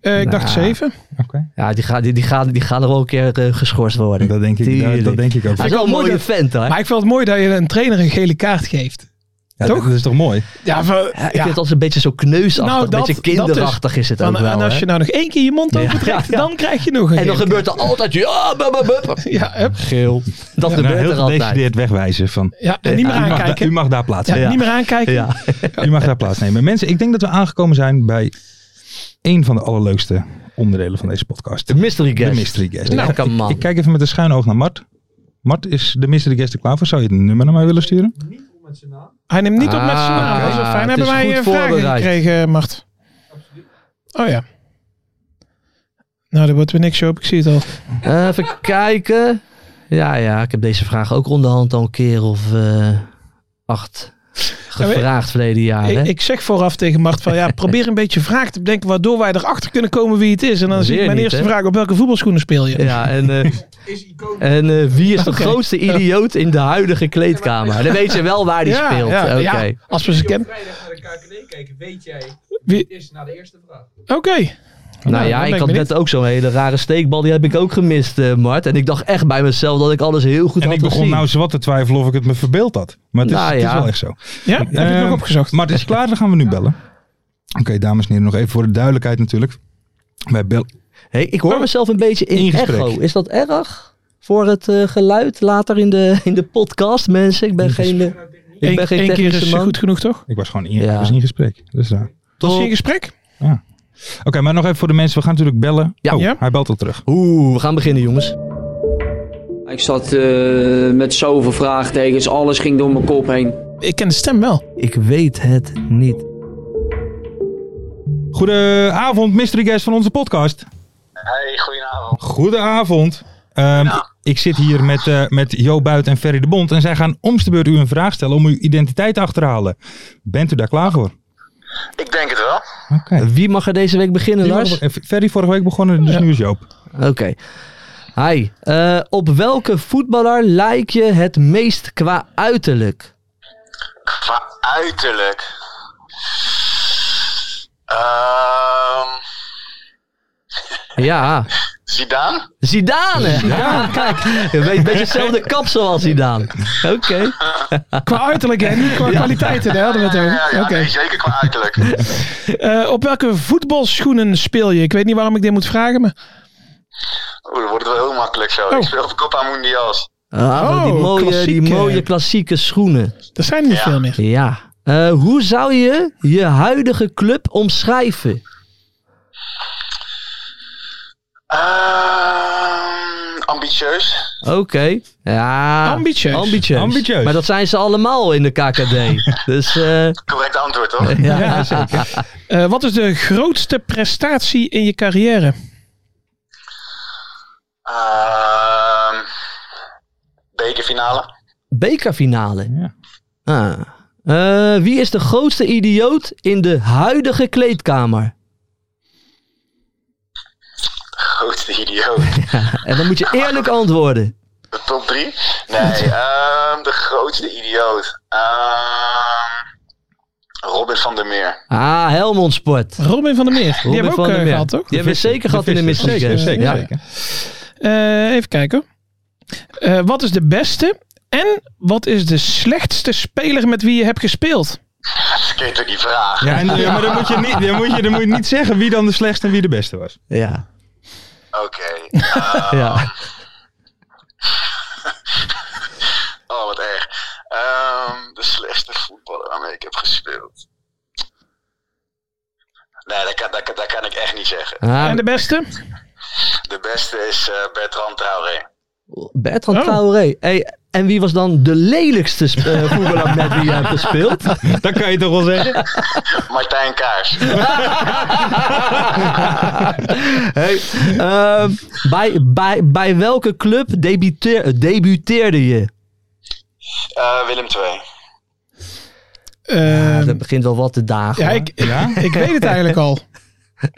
[SPEAKER 4] Eh, ik dacht
[SPEAKER 5] Nou.
[SPEAKER 4] zeven.
[SPEAKER 3] Oké.
[SPEAKER 5] Ja, die gaan, die, die gaan, die gaan er wel een keer eh, geschorst worden.
[SPEAKER 3] Dat denk ik, dat,
[SPEAKER 5] Tuurlijk.
[SPEAKER 3] dat denk ik ook.
[SPEAKER 5] Hij is wel een
[SPEAKER 4] mooi
[SPEAKER 5] mooie
[SPEAKER 4] dat-
[SPEAKER 5] vent hoor.
[SPEAKER 4] Maar ik vind het mooi dat je een trainer een gele kaart geeft.
[SPEAKER 3] Ja, dat- Dat is toch mooi?
[SPEAKER 4] Ja, van,
[SPEAKER 5] Ja, ik
[SPEAKER 4] ja.
[SPEAKER 5] vind het als een beetje zo kneusachtig,
[SPEAKER 4] Nou,
[SPEAKER 5] een
[SPEAKER 4] dat-
[SPEAKER 5] beetje
[SPEAKER 4] dat is-
[SPEAKER 5] kinderachtig is, het
[SPEAKER 4] Van,
[SPEAKER 5] ook wel.
[SPEAKER 4] en als
[SPEAKER 5] hè?
[SPEAKER 4] je nou nog één keer je mond
[SPEAKER 5] Ja,
[SPEAKER 4] overtrekt,
[SPEAKER 5] ja.
[SPEAKER 4] dan krijg je nog een
[SPEAKER 5] en dan
[SPEAKER 4] gele
[SPEAKER 5] gebeurt er altijd, ja, bup, bup, bup.
[SPEAKER 4] kaart. Ja, hup.
[SPEAKER 5] Geel. Dat
[SPEAKER 3] Nou,
[SPEAKER 5] gebeurt
[SPEAKER 3] heel
[SPEAKER 5] er altijd.
[SPEAKER 3] gedecideerd wegwijzen van...
[SPEAKER 4] ja en niet meer
[SPEAKER 3] u mag da- U
[SPEAKER 4] aankijken.
[SPEAKER 3] mag daar plaatsnemen.
[SPEAKER 4] Ja,
[SPEAKER 3] Ja.
[SPEAKER 4] niet meer aankijken.
[SPEAKER 5] Ja.
[SPEAKER 3] U mag daar plaatsnemen. Mensen, ik denk dat we aangekomen zijn bij één van de allerleukste onderdelen van deze podcast.
[SPEAKER 5] De mystery
[SPEAKER 3] De
[SPEAKER 5] guest.
[SPEAKER 3] mystery guest.
[SPEAKER 5] Nou,
[SPEAKER 3] ik,
[SPEAKER 5] kan man.
[SPEAKER 3] ik kijk even met een schuin oog naar Mart. Mart, is de mystery guest er klaar voor? Zou je het nummer naar mij willen sturen?
[SPEAKER 4] Hij neemt niet op met zijn
[SPEAKER 5] Ah,
[SPEAKER 4] naam. Dat is wel fijn.
[SPEAKER 5] het
[SPEAKER 4] Hebben
[SPEAKER 5] is
[SPEAKER 4] wij
[SPEAKER 5] goed
[SPEAKER 4] eh, vragen
[SPEAKER 5] voorbereid.
[SPEAKER 4] gekregen, Mart? Oh ja. Nou, daar wordt weer niks op. Ik zie het al.
[SPEAKER 5] Eh, even kijken. Ja, ja, ik heb deze vraag ook onderhand al een keer of eh, acht gevraagd verleden jaar.
[SPEAKER 4] Ik,
[SPEAKER 5] hè?
[SPEAKER 4] ik zeg vooraf tegen Mart van ja, probeer een beetje vragen te bedenken waardoor wij erachter kunnen komen wie het is. En dan
[SPEAKER 5] Weer
[SPEAKER 4] zie ik mijn
[SPEAKER 5] niet,
[SPEAKER 4] eerste
[SPEAKER 5] hè?
[SPEAKER 4] vraag op welke voetbalschoenen speel je?
[SPEAKER 5] Ja, en, eh, en eh, wie is de
[SPEAKER 4] Oké.
[SPEAKER 5] grootste idioot in de huidige kleedkamer? Dan weet je wel waar die
[SPEAKER 4] Ja,
[SPEAKER 5] speelt.
[SPEAKER 4] ja,
[SPEAKER 5] Oké.
[SPEAKER 4] ja. als we ze kennen. Wie- Oké.
[SPEAKER 5] Nou
[SPEAKER 4] dan
[SPEAKER 5] ja,
[SPEAKER 4] ben
[SPEAKER 5] ik had
[SPEAKER 4] benieuwd.
[SPEAKER 5] net ook zo'n hele rare steekbal. Die heb ik ook gemist, eh, Mart. En ik dacht echt bij mezelf dat ik alles heel goed
[SPEAKER 3] En
[SPEAKER 5] had
[SPEAKER 3] ik begon
[SPEAKER 5] gezien.
[SPEAKER 3] nou zowat te twijfelen of ik het me verbeeld had. Maar het is,
[SPEAKER 5] Nou
[SPEAKER 3] het is
[SPEAKER 5] ja.
[SPEAKER 3] wel echt zo.
[SPEAKER 4] Ja, heb je het
[SPEAKER 3] Ehm,
[SPEAKER 4] nog opgezocht?
[SPEAKER 3] Mart is klaar, dan gaan we nu bellen. Oké, dames en heren, nog even voor de duidelijkheid natuurlijk. Wij bellen.
[SPEAKER 5] Hey, ik hoor
[SPEAKER 3] Oh,
[SPEAKER 5] mezelf een beetje in,
[SPEAKER 3] in gesprek.
[SPEAKER 5] echo. Is dat erg voor het eh, geluid later in de, in de podcast, mensen? Ik ben geen, eh, ik ben
[SPEAKER 4] Eén
[SPEAKER 5] geen
[SPEAKER 4] één keer
[SPEAKER 5] technische
[SPEAKER 4] is
[SPEAKER 5] man.
[SPEAKER 4] goed genoeg, toch?
[SPEAKER 3] Ik was gewoon in,
[SPEAKER 5] Ja.
[SPEAKER 3] ik was in gesprek. Dat is raar.
[SPEAKER 4] Was je in
[SPEAKER 5] Top.
[SPEAKER 4] gesprek?
[SPEAKER 3] Oké, maar nog even voor de mensen. We gaan natuurlijk bellen.
[SPEAKER 5] Ja.
[SPEAKER 3] Oh,
[SPEAKER 4] Ja.
[SPEAKER 3] hij belt al terug.
[SPEAKER 5] Oeh, we gaan beginnen, jongens.
[SPEAKER 8] Ik zat eh, met zoveel vraagtekens, alles ging door mijn kop heen.
[SPEAKER 4] Ik ken de stem wel.
[SPEAKER 5] Ik weet het niet.
[SPEAKER 3] Goedenavond, mystery guest van onze podcast.
[SPEAKER 9] Hey, goedenavond.
[SPEAKER 3] Goedenavond. Ehm, Ik zit hier met, eh, met Jo Buit en Ferry de Bond. En zij gaan om de beurt u een vraag stellen om uw identiteit achter te halen. Bent u daar klaar voor?
[SPEAKER 9] Ik denk het wel.
[SPEAKER 3] Oké.
[SPEAKER 5] Wie mag er deze week beginnen, Lars?
[SPEAKER 3] eh, Ferry vorige week begonnen, dus nu is Joop.
[SPEAKER 5] Oké. Hi. Eh, op welke voetballer lijk je het meest qua uiterlijk?
[SPEAKER 9] Qua uiterlijk. Ehm
[SPEAKER 5] Ja,
[SPEAKER 9] Zidane?
[SPEAKER 5] Zidane. Ja, kijk. Een beetje, beetje hetzelfde kapsel als Zidane. Oké.
[SPEAKER 4] Qua uiterlijk en niet qua kwaliteiten. Daar hadden we het over.
[SPEAKER 9] Ja, ja
[SPEAKER 4] Oké.
[SPEAKER 9] nee, zeker qua uiterlijk.
[SPEAKER 4] Eh, op welke voetbalschoenen speel je? Ik weet niet waarom ik dit moet vragen, maar...
[SPEAKER 9] Oeh, dan wordt het wel heel makkelijk zo.
[SPEAKER 4] Oh.
[SPEAKER 9] Ik speel op Copa Mundials.
[SPEAKER 5] Ah,
[SPEAKER 4] Oh,
[SPEAKER 5] die, mooie, die
[SPEAKER 4] klassieke.
[SPEAKER 5] mooie klassieke schoenen.
[SPEAKER 4] Er zijn er niet
[SPEAKER 9] Ja.
[SPEAKER 4] veel meer.
[SPEAKER 5] Ja. Eh, hoe zou je je huidige club omschrijven?
[SPEAKER 9] Ehm ambitieus.
[SPEAKER 5] Oké. Ja.
[SPEAKER 4] Ambitieus.
[SPEAKER 5] Ambitieus.
[SPEAKER 3] Ambitieus.
[SPEAKER 5] Maar dat zijn ze allemaal in de KKD. dus eh,
[SPEAKER 9] Correct antwoord, toch?
[SPEAKER 5] ja.
[SPEAKER 4] Eh, wat is de grootste prestatie in je carrière?
[SPEAKER 9] Ehm bekerfinale.
[SPEAKER 5] Bekerfinale.
[SPEAKER 3] Ja.
[SPEAKER 5] Ah. Eh, wie is de grootste idioot in de huidige kleedkamer?
[SPEAKER 9] grootste idioot.
[SPEAKER 5] En dan moet je eerlijk antwoorden.
[SPEAKER 9] De top 3? Nee, ehm, de grootste idioot. Ehm, Robin van der Meer.
[SPEAKER 5] Ah, Helmond Sport.
[SPEAKER 4] Robin van der Meer. die
[SPEAKER 5] Robin
[SPEAKER 4] hebben we
[SPEAKER 5] van
[SPEAKER 4] ook
[SPEAKER 5] der
[SPEAKER 4] eh,
[SPEAKER 5] Meer.
[SPEAKER 4] gehad, toch?
[SPEAKER 5] Die hebben we zeker gehad in de
[SPEAKER 3] Visser,
[SPEAKER 5] Mystery
[SPEAKER 3] Zeker,
[SPEAKER 5] Games.
[SPEAKER 3] zeker,
[SPEAKER 5] Ja.
[SPEAKER 3] zeker.
[SPEAKER 4] Eh, even kijken. Eh, wat is de beste en wat is de slechtste speler met wie je hebt gespeeld?
[SPEAKER 9] Verkeerd door die vraag.
[SPEAKER 3] Ja, en, ja, maar dan moet, je niet, dan, moet je, dan moet je niet zeggen wie dan de slechtste en wie de beste was.
[SPEAKER 5] Ja.
[SPEAKER 9] Oké. Eh,
[SPEAKER 5] ja.
[SPEAKER 9] Oh, wat erg. Ehm, de slechtste voetballer waarmee ik heb gespeeld. Nee, dat kan, dat, kan, dat kan ik echt niet zeggen.
[SPEAKER 5] Ah,
[SPEAKER 4] En de beste?
[SPEAKER 9] De beste is eh, Bertrand Traoré.
[SPEAKER 5] Bertrand
[SPEAKER 4] Oh.
[SPEAKER 5] Traoré. Hey, en wie was dan de lelijkste sp- eh, voetballer met wie je hebt gespeeld?
[SPEAKER 3] Dat kan je toch wel zeggen?
[SPEAKER 9] Martijn Kaars.
[SPEAKER 5] Hey, ehm, bij, bij, bij welke club debuteer- debuteerde je?
[SPEAKER 9] Eh, Willem II.
[SPEAKER 4] Eh,
[SPEAKER 5] Ja, dat begint wel wat te dagen.
[SPEAKER 4] Ehm. ja,
[SPEAKER 5] hoor.
[SPEAKER 4] ik, ik weet het eigenlijk al.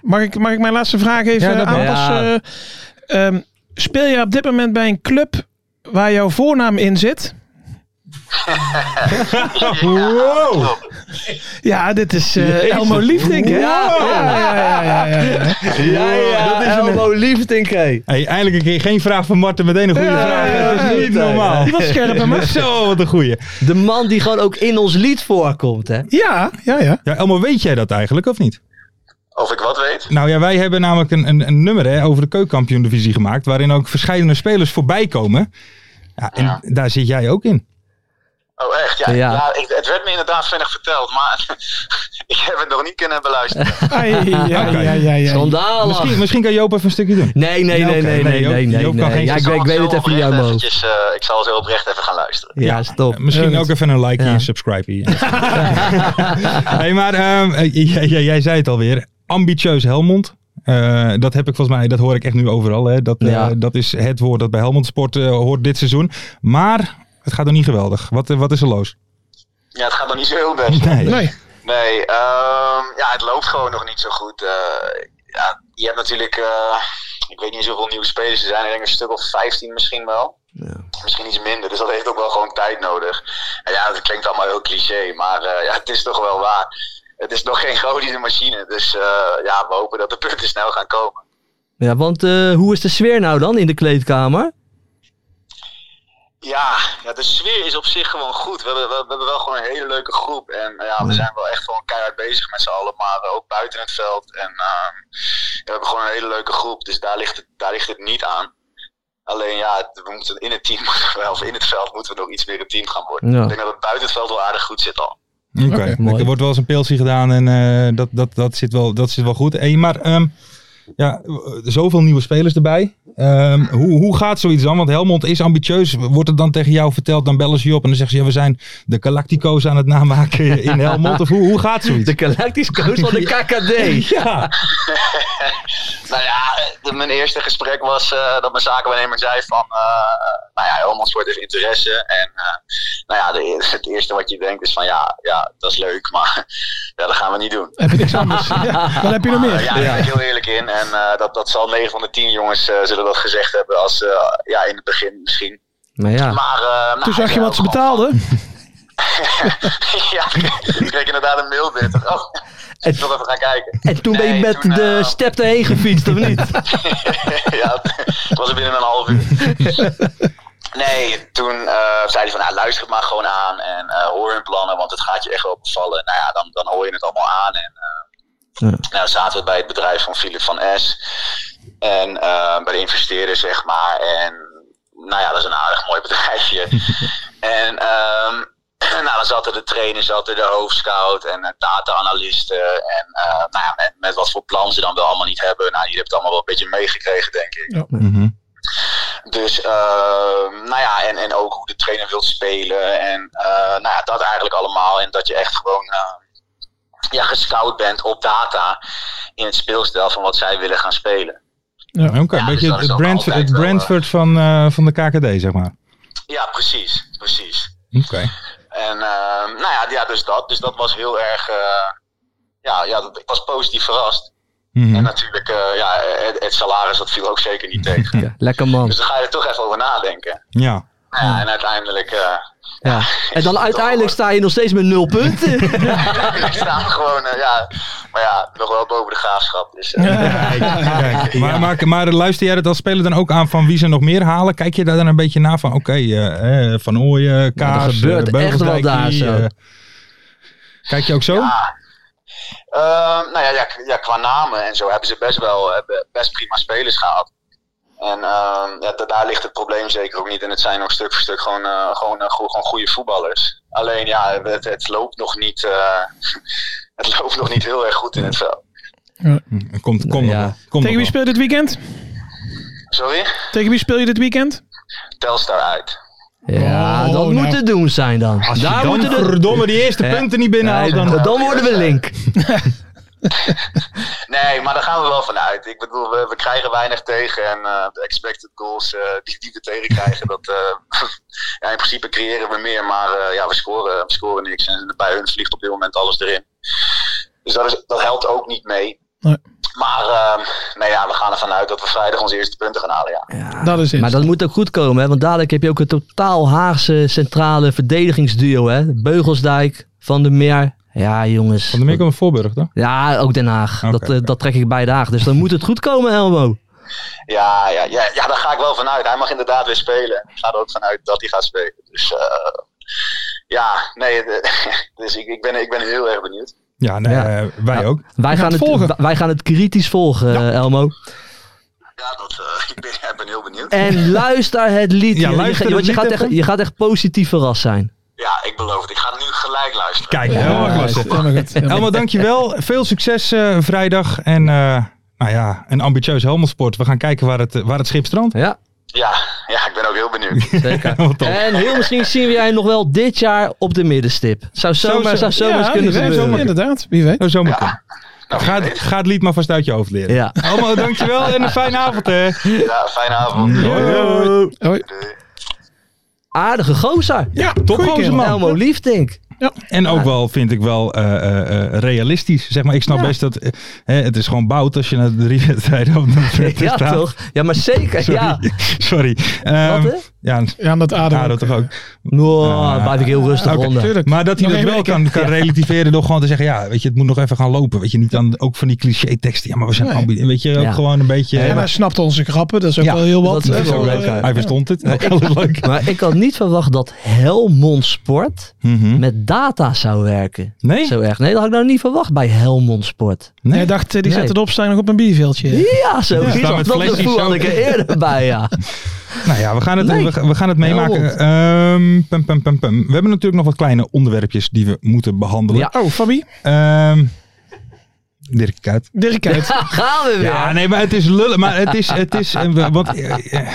[SPEAKER 4] Mag ik, mag ik mijn laatste vraag even
[SPEAKER 3] Ja, dat mag.
[SPEAKER 4] aanpassen?
[SPEAKER 5] Ja.
[SPEAKER 4] Eh, ehm, speel je op dit moment bij een club waar jouw voornaam in zit?
[SPEAKER 3] Wow!
[SPEAKER 4] Ja, dit is eh Elmo Liefdink, hè?
[SPEAKER 5] Ja,
[SPEAKER 4] Ja, ja, ja, ja, ja, ja.
[SPEAKER 5] ja, ja,
[SPEAKER 3] dat is een-
[SPEAKER 5] Elmo Liefdink, hé.
[SPEAKER 3] Hey, eindelijk een keer geen vraag van Marten, meteen een goede
[SPEAKER 4] Ja,
[SPEAKER 3] vraag.
[SPEAKER 4] ja,
[SPEAKER 3] Het
[SPEAKER 4] ja,
[SPEAKER 3] is niet
[SPEAKER 5] ja.
[SPEAKER 3] normaal.
[SPEAKER 4] Die was scherp, hè, Mart?
[SPEAKER 3] Zo, wat een goeie.
[SPEAKER 5] De man die gewoon ook in ons lied voorkomt, hè.
[SPEAKER 4] Ja, ja, ja.
[SPEAKER 3] Ja, Elmo, weet jij dat eigenlijk of niet?
[SPEAKER 9] Of ik wat weet?
[SPEAKER 3] Nou ja, wij hebben namelijk een, een, een nummer hè, over de keukenkampioen-divisie gemaakt. Waarin ook verschillende spelers voorbij komen. Ja, en
[SPEAKER 9] Ja.
[SPEAKER 3] daar zit jij ook in.
[SPEAKER 9] Oh, echt? Ja,
[SPEAKER 5] Ja.
[SPEAKER 9] ja, ik, het werd me inderdaad vinnig verteld, maar ik heb het nog niet kunnen beluisteren.
[SPEAKER 4] Ai, ja, ja, ja, ja, ja.
[SPEAKER 5] Schandalig.
[SPEAKER 3] Misschien, misschien kan Joop even een stukje doen.
[SPEAKER 5] Nee, nee,
[SPEAKER 3] Ja,
[SPEAKER 5] nee,
[SPEAKER 3] oké.
[SPEAKER 5] nee,
[SPEAKER 3] Nee,
[SPEAKER 5] nee,
[SPEAKER 3] Joop-
[SPEAKER 5] nee, nee.
[SPEAKER 3] Joop kan geen-
[SPEAKER 5] nee. Ja, ik,
[SPEAKER 9] zal
[SPEAKER 5] weet- ik
[SPEAKER 9] het
[SPEAKER 5] weet
[SPEAKER 9] zo
[SPEAKER 5] het even niet,
[SPEAKER 9] oprecht
[SPEAKER 5] Elmo.
[SPEAKER 9] eventjes, eh, ik zal zo oprecht even gaan luisteren.
[SPEAKER 5] Ja, stop.
[SPEAKER 3] Misschien
[SPEAKER 4] Ja,
[SPEAKER 3] ook even een like
[SPEAKER 5] Ja.
[SPEAKER 3] en subscribe hier. hey, maar ehm, eh, jij, jij- jij zei het alweer. Ambitieus Helmond. Eh, dat heb ik volgens mij, dat hoor ik echt nu overal. Hè. Dat, eh,
[SPEAKER 5] Ja.
[SPEAKER 3] dat is het woord dat bij Helmond Sport eh, hoort dit seizoen. Maar het gaat nog niet geweldig. Wat, eh, wat is er los?
[SPEAKER 9] Ja, het gaat nog niet zo heel best.
[SPEAKER 4] Nee.
[SPEAKER 9] Nee, ehm, ja, het loopt gewoon nog niet zo goed. Eh, ja, je hebt natuurlijk, eh, ik weet niet hoeveel nieuwe spelers er zijn. Ik denk een stuk of 15 misschien wel. Misschien iets minder. Dus dat heeft ook wel gewoon tijd nodig. En ja, dat klinkt allemaal heel cliché, maar eh, ja, het is toch wel waar. Het is nog geen godische machine. Dus eh, ja, we hopen dat de punten snel gaan komen.
[SPEAKER 5] Ja, want eh, hoe is de sfeer nou dan in de kleedkamer?
[SPEAKER 9] Ja, ja, de sfeer is op zich gewoon goed. We hebben, we, we hebben wel gewoon een hele leuke groep. En eh, ja, we zijn wel echt gewoon keihard bezig met z'n allen, maar eh, ook buiten het veld. En ehm, ja, we hebben gewoon een hele leuke groep, dus daar ligt het, daar ligt het niet aan. Alleen ja, het- we moeten in het team, moeten we- of in het veld moeten we nog iets meer een team gaan worden.
[SPEAKER 5] Ja.
[SPEAKER 9] Ik denk dat het buiten het veld wel aardig goed zit al.
[SPEAKER 3] Oké,
[SPEAKER 5] mooi.
[SPEAKER 3] er wordt wel eens een pilsie gedaan en eh, dat, dat, dat, zit wel, dat zit wel goed. Hey, maar ehm, ja, w- zoveel nieuwe spelers erbij. Ehm, hoe, hoe gaat zoiets dan? Want Helmond is ambitieus. Wordt het dan tegen jou verteld, dan bellen ze je op en dan zeggen ze... Ja, we zijn de Galactico's aan het namaken in Helmond. Of hoe, hoe gaat zoiets?
[SPEAKER 5] De Galactisch Coach van de KKD.
[SPEAKER 3] Ja,
[SPEAKER 9] Nou ja, de- mijn eerste gesprek was eh, dat mijn zakenwaarnemer zei van, eh, nou ja, Helmond Sport heeft interesse. En eh, nou ja, de, het eerste wat je denkt is van, ja, ja dat is leuk, maar ja, dat gaan we niet doen.
[SPEAKER 4] Heb je niks anders? Ja, wat heb je nog
[SPEAKER 9] Eh,
[SPEAKER 4] meer?
[SPEAKER 9] ja, daar ben ik heel eerlijk in. En eh, dat, dat zal 9 van de 10 jongens eh, zullen dat gezegd hebben als, eh, ja, in het begin misschien.
[SPEAKER 5] Maar ja,
[SPEAKER 9] Maar, eh, nou,
[SPEAKER 4] Toen
[SPEAKER 9] ik
[SPEAKER 4] zag je
[SPEAKER 9] ben
[SPEAKER 4] wat ze
[SPEAKER 9] ook gewoon-
[SPEAKER 4] betaalden.
[SPEAKER 9] ja, ik kreeg inderdaad een mail binnen. Oh, ik wil even gaan kijken.
[SPEAKER 5] en toen ben je
[SPEAKER 9] Nee,
[SPEAKER 5] met
[SPEAKER 9] toen,
[SPEAKER 5] de
[SPEAKER 9] eh,
[SPEAKER 5] step erheen gefietst, of niet?
[SPEAKER 9] ja, het was er binnen een half uur. Nee, toen eh, zei hij van, nou, luister het maar gewoon aan en eh, hoor hun plannen, want het gaat je echt wel bevallen. Nou ja, dan, dan hoor je het allemaal aan. En, eh,
[SPEAKER 5] Ja.
[SPEAKER 9] Nou zaten we bij het bedrijf van Philip van S. En eh, bij de investeerder, zeg maar. En nou ja, dat is een aardig mooi bedrijfje. en ehm, nou, dan zaten de trainer, zaten de hoofdscout en eh, data-analisten. En eh, nou ja, met, met wat voor plan ze dan wel allemaal niet hebben. Nou, jullie hebben het allemaal wel een beetje meegekregen, denk ik.
[SPEAKER 3] Mhm.
[SPEAKER 9] Dus, ehm, nou ja, en, en ook hoe de trainer wil spelen. En eh, nou ja, dat eigenlijk allemaal. En dat je echt gewoon eh, ja, gescout bent op data in het speelstijl van wat zij willen gaan spelen.
[SPEAKER 3] oké.
[SPEAKER 9] Ja,
[SPEAKER 3] een
[SPEAKER 9] dus
[SPEAKER 3] beetje
[SPEAKER 9] dat is
[SPEAKER 3] het,
[SPEAKER 9] ook
[SPEAKER 3] Brandford,
[SPEAKER 9] altijd
[SPEAKER 3] het
[SPEAKER 9] wel, eh,
[SPEAKER 3] Brandford van, eh, van de KKD, zeg maar.
[SPEAKER 9] Ja, precies. Precies.
[SPEAKER 3] Oké.
[SPEAKER 9] En ehm, nou ja, ja, dus dat. Dus dat was heel erg. eh, ja, ja, dat, ik was positief verrast.
[SPEAKER 3] Mhm.
[SPEAKER 9] En natuurlijk, eh, ja, het, het salaris dat viel ook zeker niet tegen.
[SPEAKER 5] Ja, lekker man.
[SPEAKER 9] Dus dan ga je er toch even over nadenken.
[SPEAKER 3] Ja.
[SPEAKER 9] Nou Ja, en uiteindelijk eh,
[SPEAKER 5] Ja. En dan uiteindelijk sta je nog steeds met nul punten.
[SPEAKER 9] ik sta gewoon, eh, ja, maar ja, nog wel boven de graafschap. Dus, eh,
[SPEAKER 3] Maar, maar, maar luister jij dat als speler dan ook aan van wie ze nog meer halen? Kijk je daar dan een beetje na van, oké, eh, eh, Van Ooyen, Kaas, eh,
[SPEAKER 5] gebeurt echt wel
[SPEAKER 3] Beugeldijk,
[SPEAKER 5] daar
[SPEAKER 3] die,
[SPEAKER 5] zo.
[SPEAKER 3] eh, kijk je ook zo?
[SPEAKER 9] Ah. Ehm, nou ja, ja, k- ja, qua namen en zo hebben ze best wel eh, be- best prima spelers gehad. En ehm, ja, da- daar ligt het probleem zeker ook niet. En het zijn ook stuk voor stuk gewoon, eh, gewoon, eh, go- gewoon goede voetballers. Alleen ja, het, het loopt nog niet. eh, het loopt nog niet heel erg goed in het veld.
[SPEAKER 3] Hm, Komt, komt nog
[SPEAKER 5] ja.
[SPEAKER 3] wel, komt
[SPEAKER 4] Tegen wie
[SPEAKER 3] nog wel.
[SPEAKER 4] speel je dit weekend?
[SPEAKER 9] Sorry?
[SPEAKER 4] Tegen wie speel je dit weekend?
[SPEAKER 9] Telstar uit.
[SPEAKER 5] Ja,
[SPEAKER 4] Oh,
[SPEAKER 5] dat
[SPEAKER 4] nou.
[SPEAKER 5] moet het doen zijn dan. Daar
[SPEAKER 3] Dan
[SPEAKER 5] moeten de...
[SPEAKER 3] verdomme die eerste
[SPEAKER 5] Ja.
[SPEAKER 3] punten niet binnenhaalt,
[SPEAKER 5] Nee,
[SPEAKER 3] dan...
[SPEAKER 5] dan, dan worden we link.
[SPEAKER 9] Nee, maar daar gaan we wel van uit. Ik bedoel, we, we krijgen weinig tegen. En eh, de expected goals eh, die, die we tegenkrijgen, dat, eh, ja, in principe creëren we meer. Maar eh, ja, we scoren, we scoren niks. En bij hun vliegt op dit moment alles erin. Dus dat, is, dat helpt ook niet mee.
[SPEAKER 4] Nee.
[SPEAKER 9] Maar eh, nee, ja, we gaan ervan uit dat we vrijdag onze eerste punten gaan halen. Ja.
[SPEAKER 4] Dat is het.
[SPEAKER 5] Maar dat moet ook goed komen, hè? want dadelijk heb je ook een totaal Haagse centrale verdedigingsduo. Hè? Beugelsdijk, Van der Meer. Ja, jongens.
[SPEAKER 3] Van de Meer komt Voorburg, toch?
[SPEAKER 5] Ja, ook Den Haag.
[SPEAKER 3] Oké,
[SPEAKER 5] dat, eh,
[SPEAKER 3] oké.
[SPEAKER 5] dat trek ik bij Den Haag. Dus dan moet het goed komen, Elmo.
[SPEAKER 9] Ja, ja, ja, ja, daar ga ik wel van uit. Hij mag inderdaad weer spelen. Ik ga er ook van uit dat hij gaat spelen. Dus eh, ja, nee, de- dus ik, ik, ben, ik ben heel erg benieuwd.
[SPEAKER 3] Ja, nee,
[SPEAKER 5] Ja.
[SPEAKER 3] eh, wij
[SPEAKER 5] Ja.
[SPEAKER 3] ook.
[SPEAKER 5] Wij gaan,
[SPEAKER 4] het
[SPEAKER 5] het,
[SPEAKER 4] volgen.
[SPEAKER 5] w- wij gaan het kritisch volgen, eh, Elmo.
[SPEAKER 9] Ja, dat, eh, ik, ben, ik ben heel benieuwd.
[SPEAKER 5] En luister het lied.
[SPEAKER 3] Ja,
[SPEAKER 5] Je- je-
[SPEAKER 3] luister
[SPEAKER 5] je, want je,
[SPEAKER 3] het lied
[SPEAKER 5] gaat
[SPEAKER 3] even.
[SPEAKER 5] echt, je gaat echt positief verrast zijn.
[SPEAKER 9] Ja, ik beloof het. Ik ga nu gelijk luisteren.
[SPEAKER 3] Kijk,
[SPEAKER 4] Ja,
[SPEAKER 3] helemaal klasse.
[SPEAKER 4] helemaal goed. Helemaal
[SPEAKER 3] Elmo, dankjewel. Veel succes eh, vrijdag. En eh, nou ja, een ambitieus Helmelsport. We gaan kijken waar het, eh, waar het schip strandt.
[SPEAKER 5] Ja,
[SPEAKER 9] Ja, ja, ik ben ook heel benieuwd.
[SPEAKER 5] zeker.
[SPEAKER 3] Wat tof.
[SPEAKER 5] en heel misschien zien we jij nog wel dit jaar op de middenstip. Zou zomaar,
[SPEAKER 3] Zomaar-
[SPEAKER 5] zou zomaar eens
[SPEAKER 4] Ja,
[SPEAKER 5] kunnen
[SPEAKER 4] wie weet,
[SPEAKER 5] gebeuren.
[SPEAKER 4] Inderdaad, wie weet.
[SPEAKER 3] Nou, zo maar kunnen. Ga, het- ga het lied maar vast uit je hoofd leren.
[SPEAKER 5] Ja.
[SPEAKER 3] Elmo, dankjewel en een fijne avond hè.
[SPEAKER 9] Ja, fijne avond.
[SPEAKER 4] Hoi.
[SPEAKER 9] Doei.
[SPEAKER 5] Aardige gozer.
[SPEAKER 4] Ja,
[SPEAKER 3] Top
[SPEAKER 4] goeie
[SPEAKER 3] gozer
[SPEAKER 4] kerel.
[SPEAKER 3] man.
[SPEAKER 5] Elmo Liefdink.
[SPEAKER 3] En ook wel, vind ik wel, eh, eh, eh, realistisch. Zeg maar, ik snap best dat, eh, hè, het is gewoon bout als je na drie wedstrijden op de punten
[SPEAKER 5] Ja,
[SPEAKER 3] staat.
[SPEAKER 5] toch? Ja, maar zeker.
[SPEAKER 3] Sorry.
[SPEAKER 5] Ja.
[SPEAKER 3] Sorry. Ehm,
[SPEAKER 5] Wat, hè?
[SPEAKER 3] ja,
[SPEAKER 4] Ja, dat adem.
[SPEAKER 3] ja, dat toch ook. Ah,
[SPEAKER 5] Nou, dan blijf ik heel rustig
[SPEAKER 3] Oké,
[SPEAKER 5] ronden.
[SPEAKER 4] tuurlijk.
[SPEAKER 3] Maar dat hij dat
[SPEAKER 4] Nog één
[SPEAKER 3] wel
[SPEAKER 4] week, hè?
[SPEAKER 3] kan, kan relativeren door gewoon te zeggen, ja, weet je, het moet nog even gaan lopen. Weet je, niet dan ook van die cliché teksten. Ja, maar we zijn
[SPEAKER 4] Nee.
[SPEAKER 3] ambi- Weet je, ook
[SPEAKER 5] Ja.
[SPEAKER 3] gewoon een beetje...
[SPEAKER 4] En hij snapte onze grappen, dat is ook
[SPEAKER 3] Ja,
[SPEAKER 4] wel heel wat.
[SPEAKER 5] dat is
[SPEAKER 4] hè,
[SPEAKER 5] ook
[SPEAKER 4] voor,
[SPEAKER 5] leuk,
[SPEAKER 4] eh,
[SPEAKER 5] ja.
[SPEAKER 3] Hij verstond het. Ook heel leuk.
[SPEAKER 5] Maar ik had niet verwacht dat Helmond Sport
[SPEAKER 3] Mhm.
[SPEAKER 5] met data zou werken.
[SPEAKER 3] Nee?
[SPEAKER 5] Zo erg. Nee, dat had ik nou niet verwacht bij Helmond Sport.
[SPEAKER 3] Nee.
[SPEAKER 4] Hij dacht, eh, die
[SPEAKER 5] Nee.
[SPEAKER 4] zet het op, staan nog op een bierveeltje.
[SPEAKER 5] Ja, zo.
[SPEAKER 3] Ja, staan met
[SPEAKER 5] dat
[SPEAKER 3] flesjes
[SPEAKER 5] gevoel
[SPEAKER 3] zo.
[SPEAKER 5] had ik er eerder bij, ja.
[SPEAKER 3] Nou ja, we gaan het,
[SPEAKER 5] Leuk.
[SPEAKER 3] we, gaan- we gaan het meemaken.
[SPEAKER 5] Helmond.
[SPEAKER 3] Ehm, pum, pum, pum, pum. We hebben natuurlijk nog wat kleine onderwerpjes die we moeten behandelen.
[SPEAKER 5] Ja.
[SPEAKER 4] Oh, Fabi,
[SPEAKER 3] Ehm, Dirk Kuyt.
[SPEAKER 4] Dirk uit.
[SPEAKER 5] Gaan we weer.
[SPEAKER 3] Ja,
[SPEAKER 5] Ja,
[SPEAKER 3] nee, maar het is lullen. Maar het is... Het is eh, we- want, eh, eh,
[SPEAKER 5] het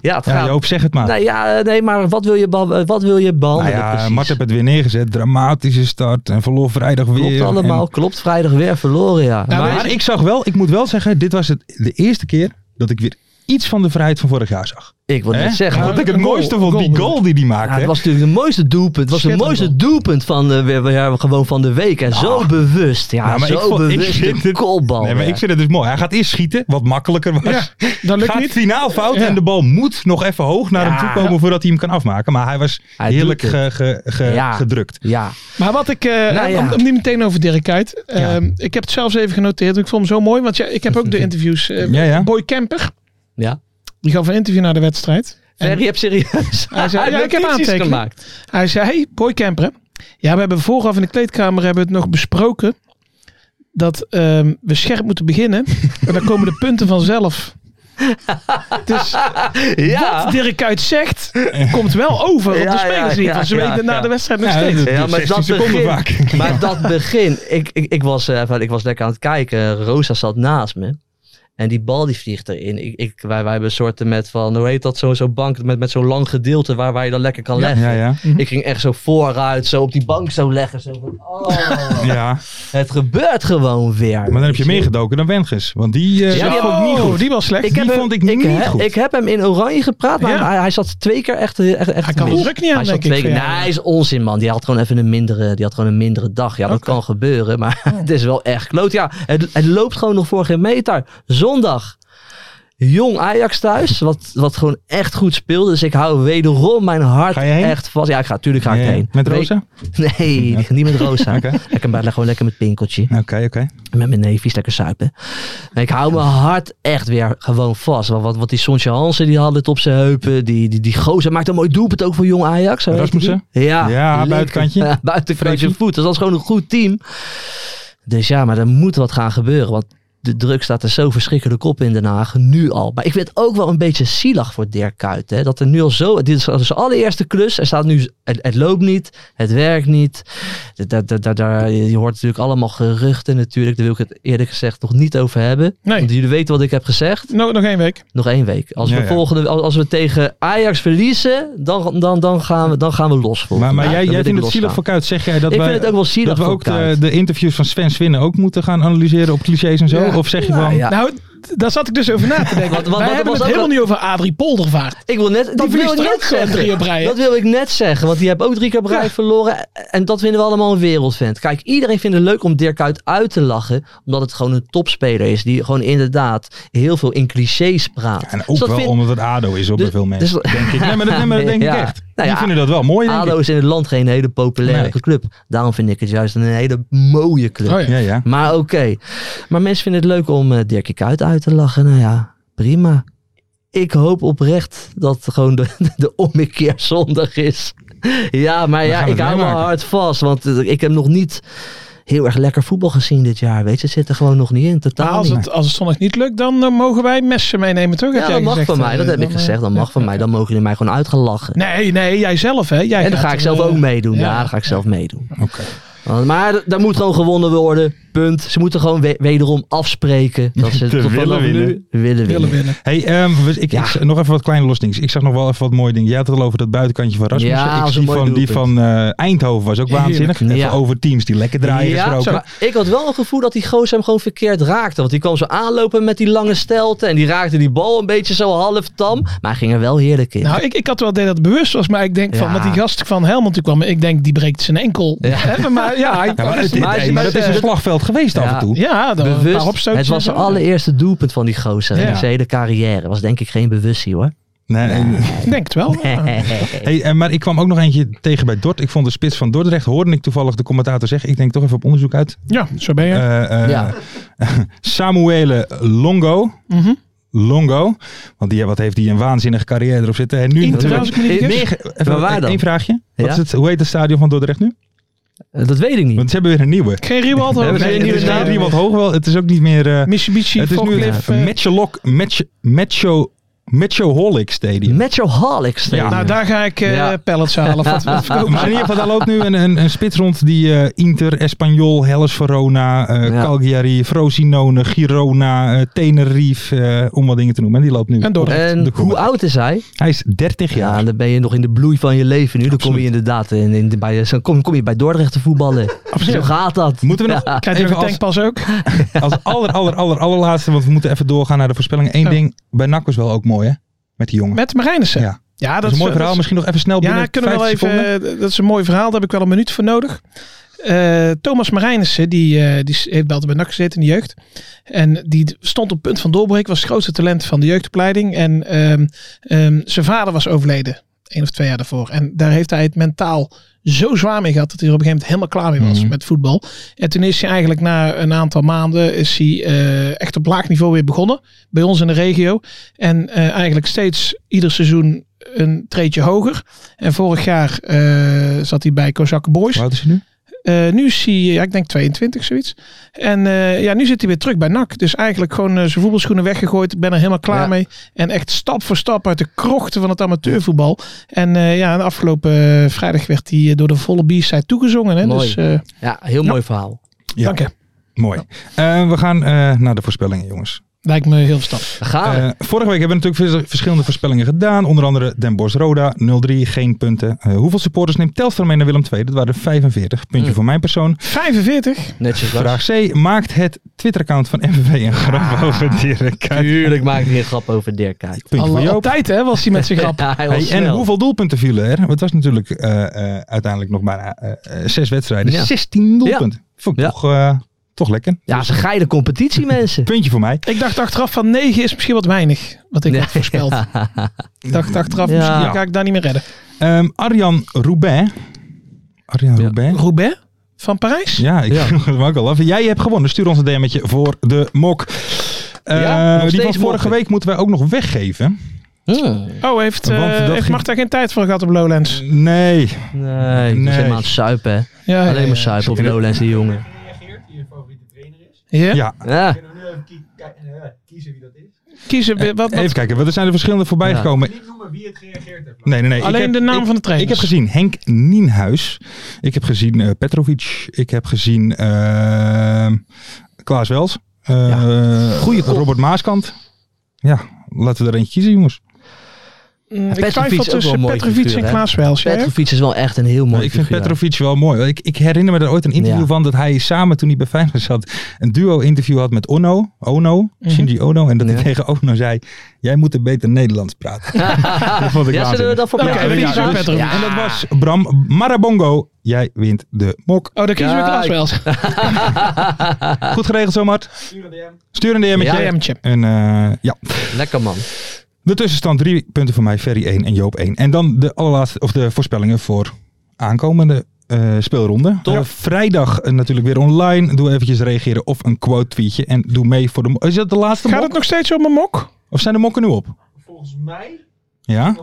[SPEAKER 3] ja,
[SPEAKER 5] gaat.
[SPEAKER 3] Joop, zeg het maar.
[SPEAKER 5] nee, ja, eh, nee, maar wat wil je, beha- eh, wat wil je
[SPEAKER 3] nou
[SPEAKER 5] behandelen
[SPEAKER 3] ja,
[SPEAKER 5] precies?
[SPEAKER 3] Mart heeft het weer neergezet. Dramatische start. En verloor vrijdag weer.
[SPEAKER 5] Klopt
[SPEAKER 3] En-
[SPEAKER 5] allemaal. Klopt vrijdag weer verloren, ja.
[SPEAKER 4] Ja,
[SPEAKER 5] maar
[SPEAKER 3] Maar ik zag wel, ik moet wel zeggen, dit was het, de eerste keer dat ik weer iets van de vrijheid van vorig jaar zag.
[SPEAKER 5] ik wil
[SPEAKER 3] Hè?
[SPEAKER 5] net zeggen.
[SPEAKER 3] Wat ik het
[SPEAKER 4] een goal-
[SPEAKER 3] mooiste vond,
[SPEAKER 4] goal
[SPEAKER 3] die goal die die maakte.
[SPEAKER 5] Ja,
[SPEAKER 3] hè.
[SPEAKER 5] het was natuurlijk het mooiste doelpunt. Het was het
[SPEAKER 4] Schitterend
[SPEAKER 5] mooiste doelpunt van, eh, weer, weer- gewoon van de week. En zo bewust. Ja,
[SPEAKER 3] Ah. Ja, Nou, maar
[SPEAKER 5] zo
[SPEAKER 3] ik vond- ik
[SPEAKER 5] bewust.
[SPEAKER 3] vind
[SPEAKER 5] een
[SPEAKER 3] het-
[SPEAKER 5] kopbal.
[SPEAKER 3] nee, maar
[SPEAKER 5] ja.
[SPEAKER 3] ik vind het dus mooi. Hij gaat eerst schieten, wat makkelijker was.
[SPEAKER 4] Ja, dat lukt
[SPEAKER 3] gaat
[SPEAKER 4] niet.
[SPEAKER 3] finaal fout
[SPEAKER 4] Ja.
[SPEAKER 3] en de bal moet nog even hoog naar
[SPEAKER 5] Ja.
[SPEAKER 3] hem toe komen voordat hij hem kan afmaken. Maar hij was
[SPEAKER 5] Hij
[SPEAKER 3] heerlijk
[SPEAKER 5] doet
[SPEAKER 3] ge- ge- ge-
[SPEAKER 5] Ja.
[SPEAKER 3] gedrukt.
[SPEAKER 5] Ja,
[SPEAKER 4] Maar wat ik, eh,
[SPEAKER 5] Nou ja.
[SPEAKER 4] om, om niet meteen over Dirk uit. Ehm, Ik heb het zelfs even genoteerd. Ik vond hem zo mooi, want ja, ik heb ook de interviews. eh,
[SPEAKER 3] Ja, ja.
[SPEAKER 4] Boy Kemper,
[SPEAKER 5] ja.
[SPEAKER 4] die gaf een interview naar de wedstrijd. En
[SPEAKER 5] Ferry, je hebt serieus.
[SPEAKER 4] Hij zei, ja,
[SPEAKER 5] heeft
[SPEAKER 4] ik heb
[SPEAKER 5] notities
[SPEAKER 4] aantekeningen.
[SPEAKER 5] gemaakt.
[SPEAKER 4] hij zei, Boy Kemper, hè, ja, we hebben vooraf in de kleedkamer hebben we het nog besproken. Dat ehm, we scherp moeten beginnen. En dan komen de punten vanzelf. Dus
[SPEAKER 5] Ja.
[SPEAKER 4] wat Dirk Kuyt zegt, komt wel over op
[SPEAKER 5] Ja,
[SPEAKER 4] de spelers.
[SPEAKER 5] ja,
[SPEAKER 4] niet.
[SPEAKER 5] ja,
[SPEAKER 4] want ze
[SPEAKER 5] ja,
[SPEAKER 4] weten na
[SPEAKER 5] ja.
[SPEAKER 4] de wedstrijd nog
[SPEAKER 3] Ja,
[SPEAKER 4] steeds.
[SPEAKER 3] dat
[SPEAKER 5] Ja,
[SPEAKER 3] duurt
[SPEAKER 5] maar
[SPEAKER 3] 16
[SPEAKER 5] dat
[SPEAKER 3] seconden
[SPEAKER 5] begin-
[SPEAKER 3] vaak.
[SPEAKER 5] Maar dat begin, ik, ik, ik, was, eh, even- ik was lekker aan het kijken. Rosa zat naast me. En die bal die vliegt erin. Ik, ik, wij, wij hebben een soorten met van, hoe heet dat, zo'n zo bank met, met zo'n lang gedeelte waar, waar je dan lekker kan
[SPEAKER 3] Ja,
[SPEAKER 5] leggen.
[SPEAKER 3] ja, Mhm. ja.
[SPEAKER 5] Ik ging echt zo vooruit, zo op die bank zo leggen. Zo van, oh,
[SPEAKER 3] Ja,
[SPEAKER 5] het gebeurt gewoon weer.
[SPEAKER 3] maar dan heb je meegedoken dan Wenges. Want die, eh,
[SPEAKER 5] Ja,
[SPEAKER 3] zag
[SPEAKER 5] die
[SPEAKER 3] ik ook niet goed.
[SPEAKER 4] die was slecht.
[SPEAKER 3] die vond ik niet
[SPEAKER 5] he-
[SPEAKER 3] goed.
[SPEAKER 5] Ik heb hem in oranje gepraat, maar
[SPEAKER 4] Ja.
[SPEAKER 5] hij, hij zat twee keer echt... echt, echt
[SPEAKER 4] Hij kan de
[SPEAKER 5] mis.
[SPEAKER 4] druk niet aan,
[SPEAKER 5] Hij zat
[SPEAKER 4] denk ik,
[SPEAKER 5] twee keer...
[SPEAKER 4] voor jou.
[SPEAKER 5] Nee, is onzin, man. Die had gewoon even een mindere, die had gewoon een mindere dag. Ja, dat kan gebeuren, maar het is wel echt kloot. Ja, het, het loopt gewoon nog voor geen meter. Zondag. Jong Ajax thuis, wat, wat gewoon echt goed speelde. Dus ik hou wederom mijn hart
[SPEAKER 3] Ga je heen?
[SPEAKER 5] echt vast. Ja, ik ga, tuurlijk ga ik
[SPEAKER 3] Ja,
[SPEAKER 5] heen.
[SPEAKER 3] Met
[SPEAKER 5] Weet-
[SPEAKER 3] Rosa?
[SPEAKER 5] Nee, niet met Rosa.
[SPEAKER 3] Oké.
[SPEAKER 5] Lekker, bij- gewoon lekker met Pinkeltje.
[SPEAKER 3] Oké, oké.
[SPEAKER 5] Met mijn neefjes lekker suipen. En ik hou mijn hart echt weer gewoon vast. Want, want, want die Sontje Hansen die had het op zijn heupen. Die, die, die gozer maakt een mooi doelpunt ook voor jong Ajax. Zo heet
[SPEAKER 3] Rasmussen?
[SPEAKER 5] die. Ja,
[SPEAKER 3] Ja,
[SPEAKER 5] lekker.
[SPEAKER 3] buitenkantje.
[SPEAKER 5] Ja, buitenkantje
[SPEAKER 3] Freekie.
[SPEAKER 5] voet. Dus dat is gewoon een goed team. Dus ja, maar er moet wat gaan gebeuren. Want de druk staat er zo verschrikkelijk op in Den Haag. Nu al. Maar ik vind het ook wel een beetje zielig voor Dirk Kuyt. Hè? Dat er nu al zo... Dit is zijn allereerste klus. Er staat nu... Het, het loopt niet. Het werkt niet. Daar, daar, daar, daar- je hoort natuurlijk allemaal geruchten natuurlijk. Daar wil ik het eerlijk gezegd nog niet over hebben.
[SPEAKER 4] Nee.
[SPEAKER 5] Want jullie weten wat ik heb gezegd.
[SPEAKER 4] No- nog één week.
[SPEAKER 5] Nog één week. Als,
[SPEAKER 3] Ja,
[SPEAKER 5] we,
[SPEAKER 3] ja.
[SPEAKER 5] Volgende, als, als we tegen Ajax verliezen, dan, dan, dan, gaan, we, dan gaan we los. volgende
[SPEAKER 3] Maar, maar
[SPEAKER 5] week.
[SPEAKER 3] jij,
[SPEAKER 5] Dan
[SPEAKER 3] jij
[SPEAKER 5] wil ik
[SPEAKER 3] vindt
[SPEAKER 5] losgaan.
[SPEAKER 3] het zielig voor Kuit. Zeg jij dat
[SPEAKER 5] Ik
[SPEAKER 3] wij,
[SPEAKER 5] vind het ook wel zielig
[SPEAKER 3] dat we
[SPEAKER 5] voor
[SPEAKER 3] ook eh, de,
[SPEAKER 5] Kuit.
[SPEAKER 3] de interviews van Sven Swinnen ook moeten gaan analyseren op clichés en zo?
[SPEAKER 4] Ja.
[SPEAKER 3] Of zeg je
[SPEAKER 5] Nou
[SPEAKER 3] van...
[SPEAKER 5] ja.
[SPEAKER 4] Nou, d- daar zat ik dus over na te
[SPEAKER 5] Want-
[SPEAKER 4] denken.
[SPEAKER 5] want-
[SPEAKER 4] Wij
[SPEAKER 5] want
[SPEAKER 4] hebben
[SPEAKER 5] was
[SPEAKER 4] het
[SPEAKER 5] ook
[SPEAKER 4] helemaal
[SPEAKER 5] wel-
[SPEAKER 4] niet over Adrie Poldervaart.
[SPEAKER 5] Ik wil net, dat wil
[SPEAKER 4] verliest
[SPEAKER 5] ik
[SPEAKER 4] er
[SPEAKER 5] net
[SPEAKER 4] ook gewoon drie
[SPEAKER 5] zeggen.
[SPEAKER 4] op
[SPEAKER 3] Ah,
[SPEAKER 4] rij, hè?
[SPEAKER 5] Dat wil ik net zeggen, want die hebben ook drie keer op rij verloren. En dat vinden we allemaal een wereldvent. Kijk, iedereen vindt het leuk om Dirk Kuyt uit te lachen. Omdat het gewoon een topspeler is. Die gewoon inderdaad heel veel in clichés praat.
[SPEAKER 3] En
[SPEAKER 5] Dus
[SPEAKER 3] ook
[SPEAKER 5] dat
[SPEAKER 3] wel
[SPEAKER 5] vindt-
[SPEAKER 3] omdat het ADO is op
[SPEAKER 5] Dus-
[SPEAKER 3] bij veel mensen,
[SPEAKER 5] dus-
[SPEAKER 3] denk ik. Nee, maar dat, nee, maar dat denk
[SPEAKER 5] Ja.
[SPEAKER 3] ik echt.
[SPEAKER 5] Nou ja,
[SPEAKER 3] Die vinden dat wel mooi, denk
[SPEAKER 5] ADO is in het land geen hele populaire
[SPEAKER 3] Nee.
[SPEAKER 5] club. Daarom vind ik het juist een hele mooie club.
[SPEAKER 4] Oh
[SPEAKER 3] ik. Ja, ja.
[SPEAKER 5] Maar oké. Maar mensen vinden het leuk om eh Dirkie Kuyt uit te lachen. Nou ja, prima. Ik hoop oprecht dat gewoon de, de ommekeer zondag is. Ja, maar ja,
[SPEAKER 3] gaan het
[SPEAKER 5] ik hou mijn
[SPEAKER 3] meemaken.
[SPEAKER 5] hart vast. Want eh, ik heb nog niet heel erg lekker voetbal gezien dit jaar. Weet je, het zit er gewoon nog niet in.
[SPEAKER 4] Maar
[SPEAKER 5] Totaal
[SPEAKER 4] Nou, als
[SPEAKER 5] niet.
[SPEAKER 4] het, als het zondag niet lukt, dan eh, mogen wij messen meenemen, toch? Heb
[SPEAKER 5] Ja,
[SPEAKER 4] jij
[SPEAKER 5] dat mag
[SPEAKER 4] gezegd,
[SPEAKER 5] van
[SPEAKER 4] eh,
[SPEAKER 5] mij. Dat heb ik
[SPEAKER 4] dan, eh,
[SPEAKER 5] gezegd. Dat
[SPEAKER 4] ja.
[SPEAKER 5] mag van mij. Dan mogen jullie mij gewoon uitgelachen.
[SPEAKER 4] Nee, nee, jij zelf, hè? Jij
[SPEAKER 5] en dan
[SPEAKER 4] gaat,
[SPEAKER 5] ga ik
[SPEAKER 4] eh,
[SPEAKER 5] zelf ook meedoen. Ja,
[SPEAKER 4] ja.
[SPEAKER 5] dan ga ik zelf meedoen.
[SPEAKER 3] Oké.
[SPEAKER 5] Want- Maar d- daar moet gewoon gewonnen worden. Punt. Ze moeten gewoon we- wederom afspreken. Dat ze
[SPEAKER 3] Te
[SPEAKER 5] tot
[SPEAKER 3] willen
[SPEAKER 5] vanaf
[SPEAKER 3] winnen.
[SPEAKER 5] nu willen
[SPEAKER 4] willen
[SPEAKER 5] winnen.
[SPEAKER 4] winnen.
[SPEAKER 3] Hey, ehm, we- ik,
[SPEAKER 5] Ja.
[SPEAKER 3] ik zag nog even wat kleine losdings. Ik zag nog wel even wat mooie dingen. Jij had het al over dat buitenkantje van Rasmussen.
[SPEAKER 5] Ja, dat
[SPEAKER 3] ik
[SPEAKER 5] was een
[SPEAKER 3] zie
[SPEAKER 5] mooi
[SPEAKER 3] van die
[SPEAKER 5] doelpunt.
[SPEAKER 3] van eh, Eindhoven was ook waanzinnig.
[SPEAKER 5] Ja.
[SPEAKER 3] Even over teams die lekker draaien gesproken.
[SPEAKER 5] maar ik had wel een gevoel dat die gozer hem gewoon verkeerd raakte. Want die kwam zo aanlopen met die lange stelte. En die raakte die bal een beetje zo half tam. Maar hij ging er wel heerlijk in.
[SPEAKER 4] Nou, ik, ik had wel idee dat het bewust was, maar ik denk van,
[SPEAKER 5] Ja.
[SPEAKER 4] want die gast van Helmond die kwam, ik denk die breekt zijn enkel.
[SPEAKER 5] Ja.
[SPEAKER 4] Hè, maar ja, hij-
[SPEAKER 3] Ja, maar het-
[SPEAKER 5] Maar-
[SPEAKER 3] hey, maar
[SPEAKER 5] maar-
[SPEAKER 3] dat is een slagveld geweest af
[SPEAKER 5] Ja.
[SPEAKER 3] en toe.
[SPEAKER 4] ja, dan een paar
[SPEAKER 5] bewust.
[SPEAKER 4] opstootjes
[SPEAKER 5] Het was
[SPEAKER 4] en
[SPEAKER 5] zijn
[SPEAKER 4] zo.
[SPEAKER 5] allereerste doelpunt van die gozer.
[SPEAKER 4] Ja.
[SPEAKER 5] In zijn hele carrière. Was denk ik geen bewustzijn hoor.
[SPEAKER 3] Nee, nee.
[SPEAKER 4] Ik denk het wel.
[SPEAKER 3] Hey, eh, maar ik kwam ook nog eentje tegen bij Dort. Ik vond de spits van Dordrecht, hoorde ik toevallig de commentator zeggen. Ik denk toch even op onderzoek uit.
[SPEAKER 4] Ja, zo ben je.
[SPEAKER 3] Eh, eh,
[SPEAKER 5] Ja.
[SPEAKER 3] Samuele Longo.
[SPEAKER 4] Mhm.
[SPEAKER 3] Longo. Want die, wat heeft die een waanzinnige carrière erop zitten. En nu
[SPEAKER 4] In
[SPEAKER 3] natuurlijk...
[SPEAKER 4] 2000 minuten.
[SPEAKER 3] Negen, even
[SPEAKER 5] Eh, Maar waar dan?
[SPEAKER 3] één vraagje. Wat
[SPEAKER 5] Ja?
[SPEAKER 3] is het, hoe heet het stadion van Dordrecht nu?
[SPEAKER 5] Dat weet ik niet.
[SPEAKER 3] Want ze hebben weer een nieuwe.
[SPEAKER 4] Geen Riewald
[SPEAKER 3] We
[SPEAKER 4] ook.
[SPEAKER 3] hebben
[SPEAKER 4] Nee,
[SPEAKER 3] geen
[SPEAKER 4] het
[SPEAKER 3] nieuwe
[SPEAKER 4] is
[SPEAKER 3] naam.
[SPEAKER 4] geen
[SPEAKER 3] Riewald Hoogwel. Het is ook niet meer... eh,
[SPEAKER 4] Mitsubishi,
[SPEAKER 3] het is nu
[SPEAKER 4] Forklift, eh,
[SPEAKER 3] Matchalok... Match- Matcho- Matchoholic Stadium.
[SPEAKER 5] Metroholic Stadium.
[SPEAKER 4] Nou, daar ga ik eh
[SPEAKER 5] Ja.
[SPEAKER 4] pallets halen. Of wat, wat verkopen
[SPEAKER 3] Ah, Maar in
[SPEAKER 4] ze?
[SPEAKER 3] ieder geval, daar loopt nu een, een, een spits rond die eh, Inter, Espanyol, Hellas Verona, eh,
[SPEAKER 5] Ja.
[SPEAKER 3] Cagliari, Frosinone, Girona, eh, Tenerife, eh, om wat dingen te noemen. En die loopt nu.
[SPEAKER 4] En Dordrecht.
[SPEAKER 3] op
[SPEAKER 5] En
[SPEAKER 3] de
[SPEAKER 5] hoe
[SPEAKER 3] Common.
[SPEAKER 5] oud is hij?
[SPEAKER 3] Hij is 30 jaar.
[SPEAKER 5] Ja, dan ben je nog in de bloei van je leven nu. Dan kom je inderdaad in, in, bij, eh, zo kom, kom je bij Dordrecht te voetballen. Zo gaat dat.
[SPEAKER 3] Moeten we nog
[SPEAKER 4] Krijg je nog
[SPEAKER 3] even
[SPEAKER 4] een
[SPEAKER 3] als,
[SPEAKER 4] tankpas ook?
[SPEAKER 3] als aller, aller, aller, allerlaatste, want we moeten even doorgaan naar de voorspellingen. Eén
[SPEAKER 4] Oh.
[SPEAKER 3] ding, bij NAC was wel ook mooi hè, met die jongen.
[SPEAKER 4] Met Marijnissen.
[SPEAKER 3] Ja.
[SPEAKER 4] Ja,
[SPEAKER 3] Dat is een mooi verhaal, misschien nog even snel binnen
[SPEAKER 4] Ja, kunnen we wel
[SPEAKER 3] 50
[SPEAKER 4] even.
[SPEAKER 3] seconden.
[SPEAKER 4] eh, Dat is een mooi verhaal. Daar heb ik wel een minuut voor nodig. Eh, Thomas Marijnissen, die, eh, die heeft bij altijd bij NAC gezeten in de jeugd. En die stond op punt van doorbreken. Was het grootste talent van de jeugdopleiding. En ehm, ehm, zijn vader was overleden. één of twee jaar daarvoor. En daar heeft hij het mentaal zo zwaar mee gehad. Dat hij er op een gegeven moment helemaal klaar mee was
[SPEAKER 3] Mhm.
[SPEAKER 4] met voetbal. En toen is hij eigenlijk na een aantal maanden. Is hij eh, echt op laag niveau weer begonnen. Bij ons in de regio. En eh, eigenlijk steeds ieder seizoen een treetje hoger. En vorig jaar eh, zat hij bij Kozakke Boys.
[SPEAKER 3] Hoe oud is hij nu?
[SPEAKER 4] Eh, nu zie je, ja, ik denk 22 zoiets. En eh, ja, nu zit hij weer terug bij NAC. Dus eigenlijk gewoon eh, zijn voetbalschoenen weggegooid. Ik ben er helemaal klaar
[SPEAKER 5] Ja.
[SPEAKER 4] mee. En echt stap voor stap uit de krochten van het amateurvoetbal. En eh, ja, de afgelopen eh, vrijdag werd hij eh, door de volle B-side toegezongen. Hè?
[SPEAKER 5] Mooi.
[SPEAKER 4] Dus eh
[SPEAKER 5] Ja, heel mooi verhaal.
[SPEAKER 3] Ja.
[SPEAKER 4] dank je.
[SPEAKER 3] Mooi. Eh, we gaan eh, naar de voorspellingen jongens.
[SPEAKER 4] Lijkt me heel verstandig.
[SPEAKER 5] Gaan we.
[SPEAKER 3] Eh, vorige week hebben we natuurlijk vers- verschillende voorspellingen gedaan. Onder andere Den Bosch Roda, 0-3, geen punten. Eh, hoeveel supporters neemt Telstra mee naar Willem II? Dat waren er 45. Puntje voor mijn persoon.
[SPEAKER 4] 45?
[SPEAKER 5] Netjes Lars.
[SPEAKER 3] Vraag C. Maakt het Twitter-account van MVV een grap
[SPEAKER 4] Ah.
[SPEAKER 3] over Dirk Kuyt?
[SPEAKER 5] Tuurlijk maak ik geen grap over Dirk Kuyt.
[SPEAKER 3] Puntje voor
[SPEAKER 4] Al,
[SPEAKER 3] Joop.
[SPEAKER 4] altijd hè, was hij met zijn grap.
[SPEAKER 5] Ja, hij was
[SPEAKER 3] Hey, en
[SPEAKER 5] snel.
[SPEAKER 3] hoeveel doelpunten vielen er? Want het was natuurlijk eh, eh, uiteindelijk nog maar eh, eh, zes wedstrijden.
[SPEAKER 5] Ja.
[SPEAKER 3] 16 doelpunten. Vond ik
[SPEAKER 5] Ja.
[SPEAKER 3] toch, eh, toch lekker.
[SPEAKER 5] Ja, ze geile competitie, mensen.
[SPEAKER 3] Puntje voor mij.
[SPEAKER 4] Ik dacht achteraf van 9 is misschien wat weinig. Wat ik
[SPEAKER 5] Ja.
[SPEAKER 4] had voorspeld. Ik dacht achteraf,
[SPEAKER 5] Ja.
[SPEAKER 4] misschien ga ik daar niet meer redden.
[SPEAKER 3] Ehm, Arjan Roubaix. Arjan Roubaix.
[SPEAKER 4] Roubaix van Parijs?
[SPEAKER 3] Ja, ik
[SPEAKER 5] Ja.
[SPEAKER 3] kwam ook al af. Jij hebt gewonnen. Stuur ons een DM'tje voor de mok. Eh,
[SPEAKER 5] Ja, nog
[SPEAKER 3] die van
[SPEAKER 5] steeds
[SPEAKER 3] vorige
[SPEAKER 5] mokken.
[SPEAKER 3] week moeten wij ook nog weggeven.
[SPEAKER 4] Oh, heeft, eh
[SPEAKER 3] Want dat
[SPEAKER 4] heeft
[SPEAKER 3] ging-
[SPEAKER 4] Marta geen tijd voor gehad op Lowlands?
[SPEAKER 3] Nee.
[SPEAKER 5] Nee, ik
[SPEAKER 3] Nee.
[SPEAKER 5] was helemaal aan het suipen. hè.
[SPEAKER 4] Ja,
[SPEAKER 5] Alleen maar
[SPEAKER 4] ja.
[SPEAKER 5] suipen op Lowlands, die jongen.
[SPEAKER 4] Ja?
[SPEAKER 3] Ja.
[SPEAKER 5] Ja,
[SPEAKER 4] Kiezen, we- wat, wat-
[SPEAKER 3] Eh, Even kijken. want Er zijn er verschillende voorbij
[SPEAKER 5] Ja.
[SPEAKER 3] gekomen. Niet noemen wie het gereageerd heeft. Nee, nee, nee.
[SPEAKER 4] Alleen
[SPEAKER 3] ik heb,
[SPEAKER 4] de naam
[SPEAKER 3] ik-
[SPEAKER 4] van de trainers.
[SPEAKER 3] Ik heb gezien Henk Nienhuis. Ik heb gezien eh, Petrovic. Ik heb gezien ehm, Klaas Wels. Eh Goeie Robert Maaskant. Ja, laten we er eentje kiezen, jongens.
[SPEAKER 4] mm, ik
[SPEAKER 5] Petrovic
[SPEAKER 4] twijfel
[SPEAKER 5] is ook wel
[SPEAKER 4] tussen
[SPEAKER 5] een mooie
[SPEAKER 4] Petrovic
[SPEAKER 5] figuur,
[SPEAKER 4] en
[SPEAKER 5] hè?
[SPEAKER 4] Klaas Wels. jij?
[SPEAKER 5] Petrovic is wel echt een heel mooi
[SPEAKER 3] ik vind
[SPEAKER 5] figuur.
[SPEAKER 3] Petrovic wel mooi. Ik, ik herinner me er ooit een interview
[SPEAKER 5] Ja.
[SPEAKER 3] van dat hij samen toen hij bij Feyenoord zat een duo-interview had met Ono, Ono, Shinji Ono, en dat hij
[SPEAKER 5] Ja.
[SPEAKER 3] tegen Ono zei: jij moet er beter Nederlands praten. dat vond ik
[SPEAKER 5] Ja, zullen we
[SPEAKER 3] waanzinnig.
[SPEAKER 5] dat voor
[SPEAKER 4] Oké,
[SPEAKER 5] elkaar
[SPEAKER 4] dan
[SPEAKER 5] doen?
[SPEAKER 4] kiezen we
[SPEAKER 5] Ja, dus-
[SPEAKER 4] Petrovic.
[SPEAKER 5] ja.
[SPEAKER 3] En dat was Bram Marabongo. Jij wint de mok.
[SPEAKER 4] Oh, dan kiezen we Klaas
[SPEAKER 5] Kijk.
[SPEAKER 4] Wels.
[SPEAKER 3] Goed geregeld zo, Mart. Stuur een DM. met
[SPEAKER 4] Ja,
[SPEAKER 3] je.
[SPEAKER 4] Jemtje.
[SPEAKER 3] En eh, ja,
[SPEAKER 5] Lekker man.
[SPEAKER 3] de tussenstand drie punten voor mij, Ferry 1 en Joop 1. En dan de allerlaatste, of de voorspellingen voor aankomende eh, speelronde. Eh, vrijdag eh, natuurlijk weer online. Doe eventjes reageren of een quote tweetje. En doe mee voor de... mo- Is dat de laatste
[SPEAKER 4] Gaat
[SPEAKER 3] mok?
[SPEAKER 4] het nog steeds om mijn mok?
[SPEAKER 3] Of zijn de mokken nu op? Volgens mij... Ja?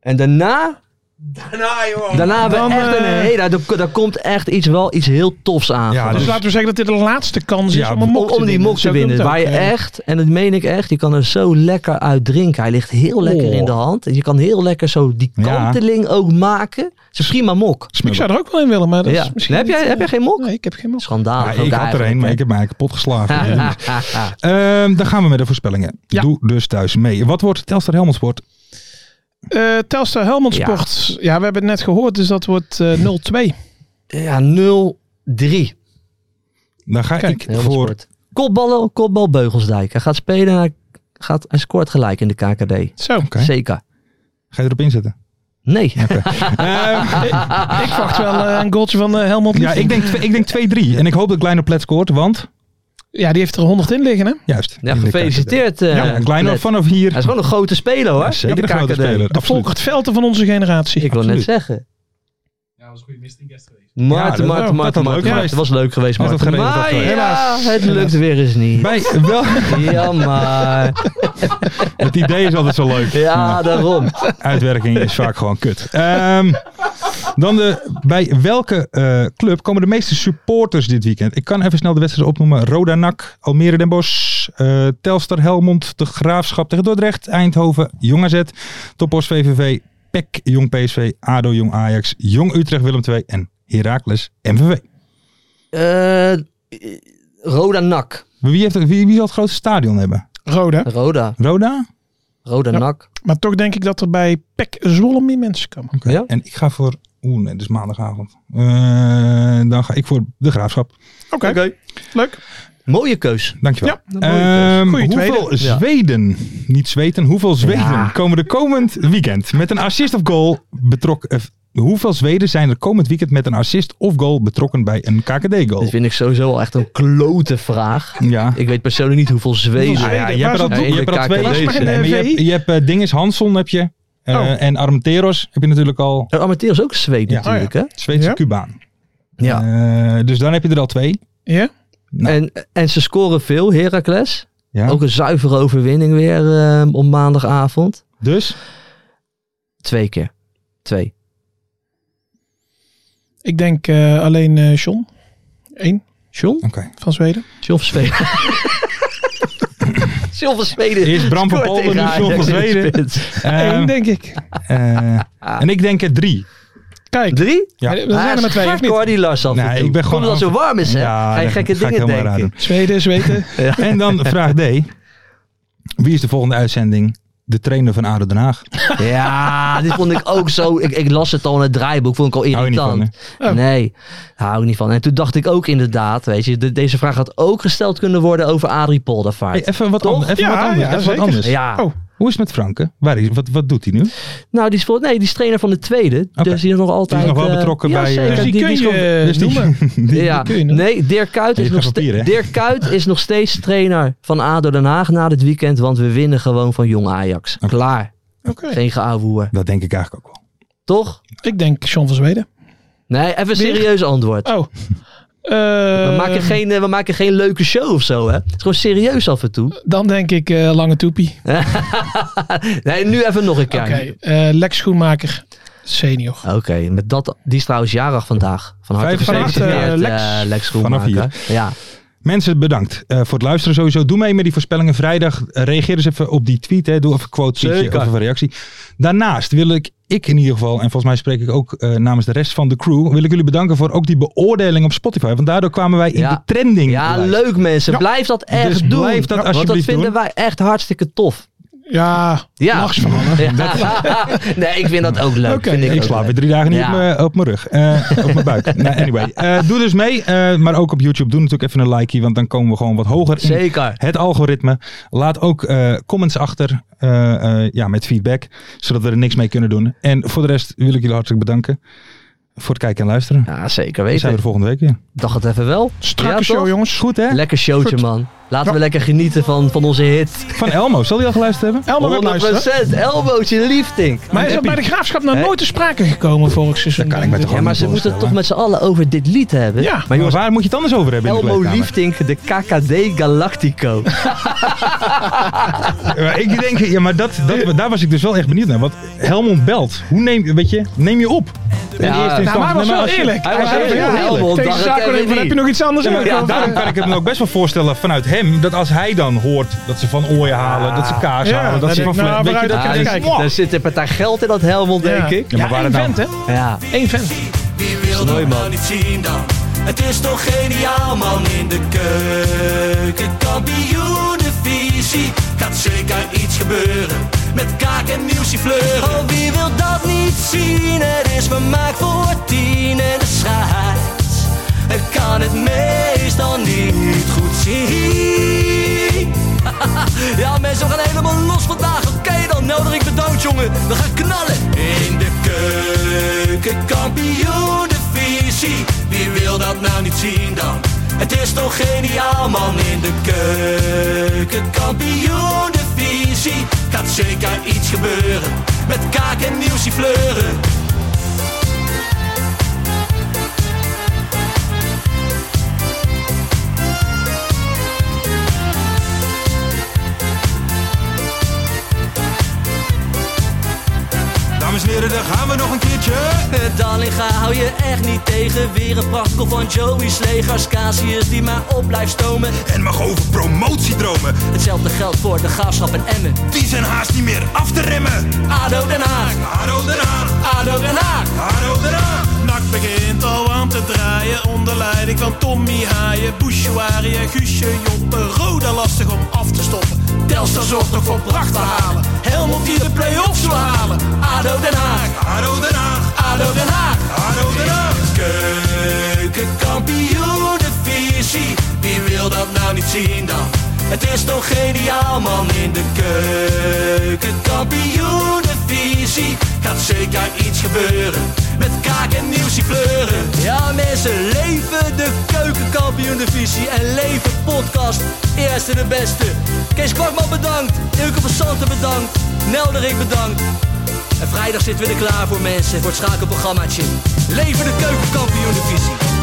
[SPEAKER 5] En daarna... Daarna, joh. Daarna hebben
[SPEAKER 4] Dan,
[SPEAKER 5] we echt een...
[SPEAKER 4] eh,
[SPEAKER 5] Hey, daar, daar komt echt iets, wel iets heel tofs aan.
[SPEAKER 3] Ja,
[SPEAKER 5] gewoon.
[SPEAKER 4] Dus
[SPEAKER 3] dus-
[SPEAKER 4] laten we zeggen dat dit de laatste kans is
[SPEAKER 3] Ja,
[SPEAKER 4] om een mok
[SPEAKER 5] om,
[SPEAKER 4] te
[SPEAKER 5] om die
[SPEAKER 4] winnen.
[SPEAKER 5] mok te
[SPEAKER 4] Zo doen we
[SPEAKER 5] winnen.
[SPEAKER 4] het
[SPEAKER 5] Waar je
[SPEAKER 4] ook. eh,
[SPEAKER 5] echt, en dat meen ik echt, je kan er zo lekker uit drinken. Hij ligt heel lekker in de hand. Je kan heel lekker zo die
[SPEAKER 3] Oh. Ja.
[SPEAKER 5] kanteling ook maken. Het is een prima mok.
[SPEAKER 4] Ik zou er ook wel in willen, maar dat
[SPEAKER 5] Ja.
[SPEAKER 4] is misschien
[SPEAKER 5] Heb jij-
[SPEAKER 4] niet, eh,
[SPEAKER 5] heb jij geen mok?
[SPEAKER 4] Nee, Ah, ik heb geen mok.
[SPEAKER 3] Ja,
[SPEAKER 5] Schandalig. ook
[SPEAKER 3] ik had er
[SPEAKER 5] eigenlijk,
[SPEAKER 3] een, maar
[SPEAKER 5] hè.
[SPEAKER 3] ik heb mij kapot geslagen.
[SPEAKER 5] Ah, ah.
[SPEAKER 3] Ehm, dan gaan we met de voorspellingen.
[SPEAKER 4] Ja.
[SPEAKER 3] Doe dus thuis mee. Wat wordt Telstar Helmondsport?
[SPEAKER 4] Eh Telstar Helmond
[SPEAKER 5] Ja.
[SPEAKER 4] Sport. Ja. we hebben het net gehoord, dus dat wordt eh, 0-2.
[SPEAKER 5] Ja, 0-3.
[SPEAKER 3] Dan ga
[SPEAKER 4] Kijk,
[SPEAKER 3] ik
[SPEAKER 5] Heel
[SPEAKER 3] voor
[SPEAKER 5] sport. Kopballen, kopbal Beugelsdijk. Hij gaat spelen en hij, gaat, hij scoort gelijk in de KKD.
[SPEAKER 4] Zo.
[SPEAKER 3] Oké.
[SPEAKER 5] Zeker.
[SPEAKER 3] Ga je erop inzetten?
[SPEAKER 5] Nee.
[SPEAKER 4] Eh, ik, ik verwacht wel eh, een goaltje van eh, Helmond
[SPEAKER 3] Ja,
[SPEAKER 4] Liefde.
[SPEAKER 3] ik denk, tw- ik denk 2-3. En ik hoop dat Kleiner Plet scoort, want...
[SPEAKER 4] Ja, die heeft er 100 in liggen, hè?
[SPEAKER 3] Juist.
[SPEAKER 5] Ja,
[SPEAKER 3] in de
[SPEAKER 5] gefeliciteerd. eh,
[SPEAKER 3] KKD. ja, Kleiner
[SPEAKER 5] Led.
[SPEAKER 3] vanaf hier.
[SPEAKER 5] Hij is gewoon een grote speler hoor.
[SPEAKER 3] Ja, zeker
[SPEAKER 5] in de
[SPEAKER 3] een grote
[SPEAKER 5] KKD.
[SPEAKER 3] speler.
[SPEAKER 4] De
[SPEAKER 3] Absoluut.
[SPEAKER 4] Volkert Velten van onze generatie.
[SPEAKER 5] Ik wil net
[SPEAKER 3] Absoluut.
[SPEAKER 5] zeggen.
[SPEAKER 3] Ja, dat-
[SPEAKER 5] Maarten, Maarten, Maarten,
[SPEAKER 3] dat had leuk
[SPEAKER 5] Maarten, Maarten.
[SPEAKER 3] geweest.
[SPEAKER 5] Het was leuk geweest,
[SPEAKER 3] Had het
[SPEAKER 5] Maarten.
[SPEAKER 3] geregeld,
[SPEAKER 5] Maar
[SPEAKER 3] had het
[SPEAKER 5] ja, het lukt weer eens niet.
[SPEAKER 3] Bij, wel,
[SPEAKER 5] Jammer.
[SPEAKER 3] het idee is altijd zo leuk.
[SPEAKER 5] Ja, daarom.
[SPEAKER 3] Uitwerking is vaak gewoon kut. Ehm, dan de, bij welke eh, club komen de meeste supporters dit weekend? Ik kan even snel de wedstrijden opnoemen. Roda NAC, Almere Den Bosch, eh, Telstar Helmond, De Graafschap tegen Dordrecht, Eindhoven, Jong AZ, Topos VVV, PEC, E Jong PSV, ADO, Jong Ajax, Jong Utrecht, Willem II en Heracles MVV.
[SPEAKER 5] Eh, Roda Nak.
[SPEAKER 3] Wie, heeft, het- wie, wie zal het grootste stadion hebben?
[SPEAKER 4] Roda.
[SPEAKER 5] Roda.
[SPEAKER 3] Roda?
[SPEAKER 5] Roda
[SPEAKER 4] Ja.
[SPEAKER 5] Nak.
[SPEAKER 4] Maar toch denk ik dat er bij Pek Zwolle meer mensen komen.
[SPEAKER 3] Oké.
[SPEAKER 5] Ja.
[SPEAKER 3] En ik ga voor... Oeh, nee, het is maandagavond. Eh, dan ga ik voor de Graafschap.
[SPEAKER 4] Oké, leuk.
[SPEAKER 5] Mooie keus.
[SPEAKER 3] Dankjewel.
[SPEAKER 5] Ja,
[SPEAKER 3] Ehm,
[SPEAKER 5] mooie
[SPEAKER 4] Goeie
[SPEAKER 3] hoeveel
[SPEAKER 4] tweede.
[SPEAKER 5] Ja.
[SPEAKER 3] Zweden, niet Zweden, hoeveel Zweden
[SPEAKER 5] Ja.
[SPEAKER 3] komen er komend weekend met een assist of goal betrokken? eh, hoeveel Zweden zijn er komend weekend met een assist of goal betrokken bij een KKD-goal?
[SPEAKER 5] Dit vind ik sowieso al echt een klote vraag.
[SPEAKER 3] Ja.
[SPEAKER 5] Ik weet persoonlijk niet hoeveel Zweden.
[SPEAKER 3] Nou ja,
[SPEAKER 4] Zweden,
[SPEAKER 3] je hebt er al,
[SPEAKER 4] waar
[SPEAKER 5] is-
[SPEAKER 3] je hebt er al
[SPEAKER 5] Waar is
[SPEAKER 3] twee.
[SPEAKER 4] mijn
[SPEAKER 3] Nee, maar je
[SPEAKER 4] NRV?
[SPEAKER 3] hebt, je hebt eh, Dinges Hanson heb je. eh,
[SPEAKER 4] Oh.
[SPEAKER 3] En Armenteros heb je natuurlijk al.
[SPEAKER 5] En Amateur is ook Zweden
[SPEAKER 3] Ja. Oh
[SPEAKER 5] natuurlijk, hè?
[SPEAKER 3] Zweedse
[SPEAKER 4] Ja.
[SPEAKER 3] Cubaan.
[SPEAKER 5] Ja.
[SPEAKER 3] Eh, dus dan heb je er al twee.
[SPEAKER 4] Ja?
[SPEAKER 3] Nou.
[SPEAKER 5] En, en ze scoren veel, Heracles.
[SPEAKER 3] Ja.
[SPEAKER 5] Ook een zuivere overwinning weer eh, op maandagavond.
[SPEAKER 3] Dus
[SPEAKER 5] Twee keer. Twee.
[SPEAKER 4] Ik denk eh, alleen eh John. Eén
[SPEAKER 5] John?
[SPEAKER 3] oké.
[SPEAKER 4] van Zweden.
[SPEAKER 5] John van Zweden. John van Zweden.
[SPEAKER 3] Eerst Bram van
[SPEAKER 5] scoort
[SPEAKER 3] Polder,
[SPEAKER 5] tegen
[SPEAKER 3] nu John van
[SPEAKER 5] Ajax in de
[SPEAKER 3] Zweden.
[SPEAKER 5] spits.
[SPEAKER 3] Ehm,
[SPEAKER 4] Eén, denk ik.
[SPEAKER 3] eh, en ik denk er drie.
[SPEAKER 4] Kijk,
[SPEAKER 5] Drie?
[SPEAKER 3] Ja.
[SPEAKER 4] er zijn
[SPEAKER 5] Hij
[SPEAKER 4] er
[SPEAKER 5] is
[SPEAKER 4] maar twee, of
[SPEAKER 5] gek
[SPEAKER 4] niet?
[SPEAKER 5] hoor, die Lars af en
[SPEAKER 3] Nee,
[SPEAKER 5] toe.
[SPEAKER 3] ik ben gewoon
[SPEAKER 5] Komt omdat het zo warm is, hè? Ga je
[SPEAKER 3] daar
[SPEAKER 5] gekke
[SPEAKER 3] ga ik
[SPEAKER 5] dingen
[SPEAKER 3] helemaal raar
[SPEAKER 5] denken.
[SPEAKER 3] doen.
[SPEAKER 4] Zweden, Zweden.
[SPEAKER 3] En dan vraag D. Wie is de volgende uitzending? De trainer van ADO Den Haag.
[SPEAKER 5] Ja, dit vond ik ook zo. Ik, ik las het al in het draaiboek, vond ik al
[SPEAKER 3] Hou je
[SPEAKER 5] irritant.
[SPEAKER 3] niet van,
[SPEAKER 4] hè? Oh.
[SPEAKER 5] Nee, daar hou ik niet van. En toen dacht ik ook inderdaad, weet je, de- deze vraag had ook gesteld kunnen worden over Adrie Poldervaart.
[SPEAKER 3] Hey, even wat,
[SPEAKER 5] Toch?
[SPEAKER 3] an- even
[SPEAKER 4] Ja,
[SPEAKER 3] wat anders.
[SPEAKER 4] ja,
[SPEAKER 3] even wat
[SPEAKER 4] zeker.
[SPEAKER 3] anders.
[SPEAKER 5] ja,
[SPEAKER 4] Oh.
[SPEAKER 3] Hoe is het met Franke? Waar is, wat, wat doet hij nu?
[SPEAKER 5] nou die is, vol- nee, die is trainer van de tweede.
[SPEAKER 3] Oké.
[SPEAKER 5] Dus die is nog altijd...
[SPEAKER 3] nog wel
[SPEAKER 5] eh,
[SPEAKER 3] betrokken
[SPEAKER 5] ja,
[SPEAKER 3] bij, eh,
[SPEAKER 5] Zeker.
[SPEAKER 3] Dus
[SPEAKER 4] die kun
[SPEAKER 5] is
[SPEAKER 4] je,
[SPEAKER 5] gewoon-
[SPEAKER 4] eh,
[SPEAKER 3] dus die-
[SPEAKER 4] noemen.
[SPEAKER 5] ja.
[SPEAKER 4] kun je nog.
[SPEAKER 5] nee, Dirk Kuyt,
[SPEAKER 3] Je
[SPEAKER 5] is nog
[SPEAKER 3] gaat
[SPEAKER 5] ste-
[SPEAKER 3] papier, hè?
[SPEAKER 5] Dirk Kuyt is nog steeds trainer van ADO Den Haag na dit weekend. Want we winnen gewoon van jong Ajax. Klaar.
[SPEAKER 4] Oké.
[SPEAKER 5] Geen geouwehoer.
[SPEAKER 3] Dat denk ik eigenlijk ook wel.
[SPEAKER 5] Toch?
[SPEAKER 4] Ik denk Sean van Zweden.
[SPEAKER 5] Nee, even een serieus antwoord.
[SPEAKER 4] Oh.
[SPEAKER 5] We
[SPEAKER 4] Eh,
[SPEAKER 5] maken, geen, eh, we maken geen leuke show of zo, hè? Het is gewoon serieus af en toe.
[SPEAKER 4] Dan denk ik eh, Lange Toepie.
[SPEAKER 5] Nee, nu even nog een keer.
[SPEAKER 4] Oké. eh, Lex Schoenmaker senior.
[SPEAKER 5] Oké, met dat, die is trouwens jarig vandaag. Van harte
[SPEAKER 3] Vijf van harte,
[SPEAKER 5] gefeliciteerd,
[SPEAKER 4] eh, Lex.
[SPEAKER 5] eh, Lex
[SPEAKER 3] Vanaf
[SPEAKER 5] Schoenmaker. Ja.
[SPEAKER 3] Mensen, bedankt eh, voor het luisteren sowieso. Doe mee met die voorspellingen vrijdag. Eh, reageer eens even op die tweet. Hè. Doe even een quote tweetje
[SPEAKER 5] Zeker.
[SPEAKER 3] of even een reactie. Daarnaast wil ik, ik in ieder geval, en volgens mij spreek ik ook eh, namens de rest van de crew, wil ik jullie bedanken voor ook die beoordeling op Spotify. Want daardoor kwamen wij in
[SPEAKER 5] Ja.
[SPEAKER 3] de trending.
[SPEAKER 5] ja,
[SPEAKER 3] lijst.
[SPEAKER 5] leuk mensen. Blijf dat echt
[SPEAKER 3] Dus
[SPEAKER 5] doen.
[SPEAKER 3] blijf dat
[SPEAKER 5] want dat
[SPEAKER 3] alsjeblieft
[SPEAKER 5] vinden
[SPEAKER 3] doen.
[SPEAKER 5] wij echt hartstikke tof.
[SPEAKER 4] Ja.
[SPEAKER 5] Ja.
[SPEAKER 4] Lachs van mannen.
[SPEAKER 5] Ja. nee, ik vind dat ook leuk.
[SPEAKER 4] Oké,
[SPEAKER 5] vind ik
[SPEAKER 3] Ik
[SPEAKER 5] ook
[SPEAKER 3] slaap
[SPEAKER 5] leuk.
[SPEAKER 3] weer drie dagen niet
[SPEAKER 5] Ja.
[SPEAKER 3] op mijn- op mijn rug. Eh, op mijn buik. Nou, anyway. Eh, doe dus mee. eh, maar ook op YouTube. Doe natuurlijk even een likeje. Want dan komen we gewoon wat hoger in
[SPEAKER 5] Zeker.
[SPEAKER 3] het algoritme. Laat ook eh, comments achter eh, eh, ja, met feedback, zodat we er niks mee kunnen doen. En voor de rest wil ik jullie hartelijk bedanken voor het kijken en luisteren.
[SPEAKER 5] Ja, zeker
[SPEAKER 3] we zijn
[SPEAKER 5] weten.
[SPEAKER 3] er volgende week weer.
[SPEAKER 5] Dacht het even wel.
[SPEAKER 4] Strakke
[SPEAKER 5] Ja,
[SPEAKER 4] show,
[SPEAKER 5] toch?
[SPEAKER 4] jongens.
[SPEAKER 3] Goed hè?
[SPEAKER 5] Lekker showtje, man. Laten we lekker genieten van, van onze hit.
[SPEAKER 3] Van Elmo, zal die al geluisterd hebben?
[SPEAKER 4] Elmer wil luisteren.
[SPEAKER 5] 100% elbootje liefding.
[SPEAKER 4] Maar is dat bij de graafschap nog nooit te sprake gekomen vorig seizoen?
[SPEAKER 3] kan ik me toch
[SPEAKER 5] Ja, maar ze moeten het toch met z'n allen over dit lied hebben.
[SPEAKER 4] Ja.
[SPEAKER 5] Maar jongens,
[SPEAKER 3] waar moet je het anders over hebben? In de
[SPEAKER 5] Elmo
[SPEAKER 3] kleedkamer?
[SPEAKER 5] Liefdink, de KKD Galactico.
[SPEAKER 3] Ja, ik denk, ja, maar dat, dat, daar was ik dus wel echt benieuwd naar. Want Helmond belt. Hoe neem, weet je, neem je op? In
[SPEAKER 5] Ja.
[SPEAKER 3] eerste
[SPEAKER 5] Nou,
[SPEAKER 4] Nou, maar hij
[SPEAKER 3] instantie.
[SPEAKER 4] was
[SPEAKER 3] Nee,
[SPEAKER 4] wel
[SPEAKER 3] als je-
[SPEAKER 4] eerlijk.
[SPEAKER 5] Hij
[SPEAKER 4] Hij
[SPEAKER 5] was
[SPEAKER 4] zei
[SPEAKER 5] heel
[SPEAKER 4] van, ja,
[SPEAKER 5] eerlijk.
[SPEAKER 4] Tegen
[SPEAKER 5] Dacht ik
[SPEAKER 4] Zaken
[SPEAKER 5] even
[SPEAKER 4] even,
[SPEAKER 5] niet.
[SPEAKER 4] heb je nog iets anders?
[SPEAKER 3] Ja,
[SPEAKER 4] over?
[SPEAKER 3] ja, daarom kan ik het me ook best wel voorstellen vanuit hem. Dat als hij dan hoort dat ze van ooien halen, dat ze kaas
[SPEAKER 4] Ja,
[SPEAKER 3] halen, dat
[SPEAKER 4] dan
[SPEAKER 3] ze van
[SPEAKER 4] denk ik,
[SPEAKER 3] flat.
[SPEAKER 4] nou,
[SPEAKER 3] weet je, dat
[SPEAKER 4] vooruit, dan
[SPEAKER 3] kan
[SPEAKER 4] kan
[SPEAKER 5] dus
[SPEAKER 4] je
[SPEAKER 3] je
[SPEAKER 4] kijken.
[SPEAKER 3] denkt,
[SPEAKER 5] daar zit een partij geld in dat Helmond, denk ik.
[SPEAKER 3] Ja, maar waar
[SPEAKER 4] één
[SPEAKER 3] het nou-
[SPEAKER 4] vent, hè?
[SPEAKER 5] Ja.
[SPEAKER 4] Eén vent.
[SPEAKER 1] Wie wil dat nou niet zien dan? Het is toch geniaal man in de keuken. Kampioenenvisie. Gaat zeker iets gebeuren. Met kaak en muziek fleuren. Oh, wie wil dat niet zien? Het is vermaakt voor tien en de scheids. Ik kan het meestal niet goed zien. Ja, mensen, we gaan helemaal los vandaag. Oké, dan nodig ik de dood, jongen. We gaan knallen. In de keuken, kampioen, de visie. Wie wil dat nou niet zien dan? Het is toch geniaal, man. In de keuken, kampioen, de visie. Gaat zeker iets gebeuren. Met kaak en nieuwsie fleuren.
[SPEAKER 2] Dames en heren, daar gaan we nog een keertje.
[SPEAKER 1] Dallinga Eh, hou je echt niet tegen. Weer een prachtkel van Joey's legers. Casius die maar op blijft stomen.
[SPEAKER 2] En mag over promotiedromen.
[SPEAKER 1] Hetzelfde geldt voor de gaafschap en Emmen.
[SPEAKER 2] Die zijn haast niet meer af te remmen.
[SPEAKER 1] ADO Den Haag,
[SPEAKER 2] Haro Den Haag,
[SPEAKER 1] ADO Den Haag.
[SPEAKER 2] Haro Den Haag.
[SPEAKER 1] Nak begint al aan te draaien onder leiding van Tommy Haaien, Bouchouari en Guusje Joppen. Roda lastig om af te stoppen. Telstar zorgt nog voor pracht te halen. Helmond die de play-offs wil halen. ADO Den Haag,
[SPEAKER 2] Haro Den Haag,
[SPEAKER 1] ADO Den Haag.
[SPEAKER 2] Haro Den Haag.
[SPEAKER 1] Keukenkampioenenvisie, wie wil dat nou niet zien dan? Het is toch geniaal man in de keukenkampioenenvisie Gaat zeker iets gebeuren, met kaak en nieuwsie kleuren Ja mensen, leven de keukenkampioenenvisie en leven podcast Eerste de beste Kees Kwakman bedankt, Ilke van Santen bedankt, Nelderik bedankt en vrijdag zitten we er klaar voor mensen voor het schakelprogrammaatje. Leven de keukenkampioen divisie.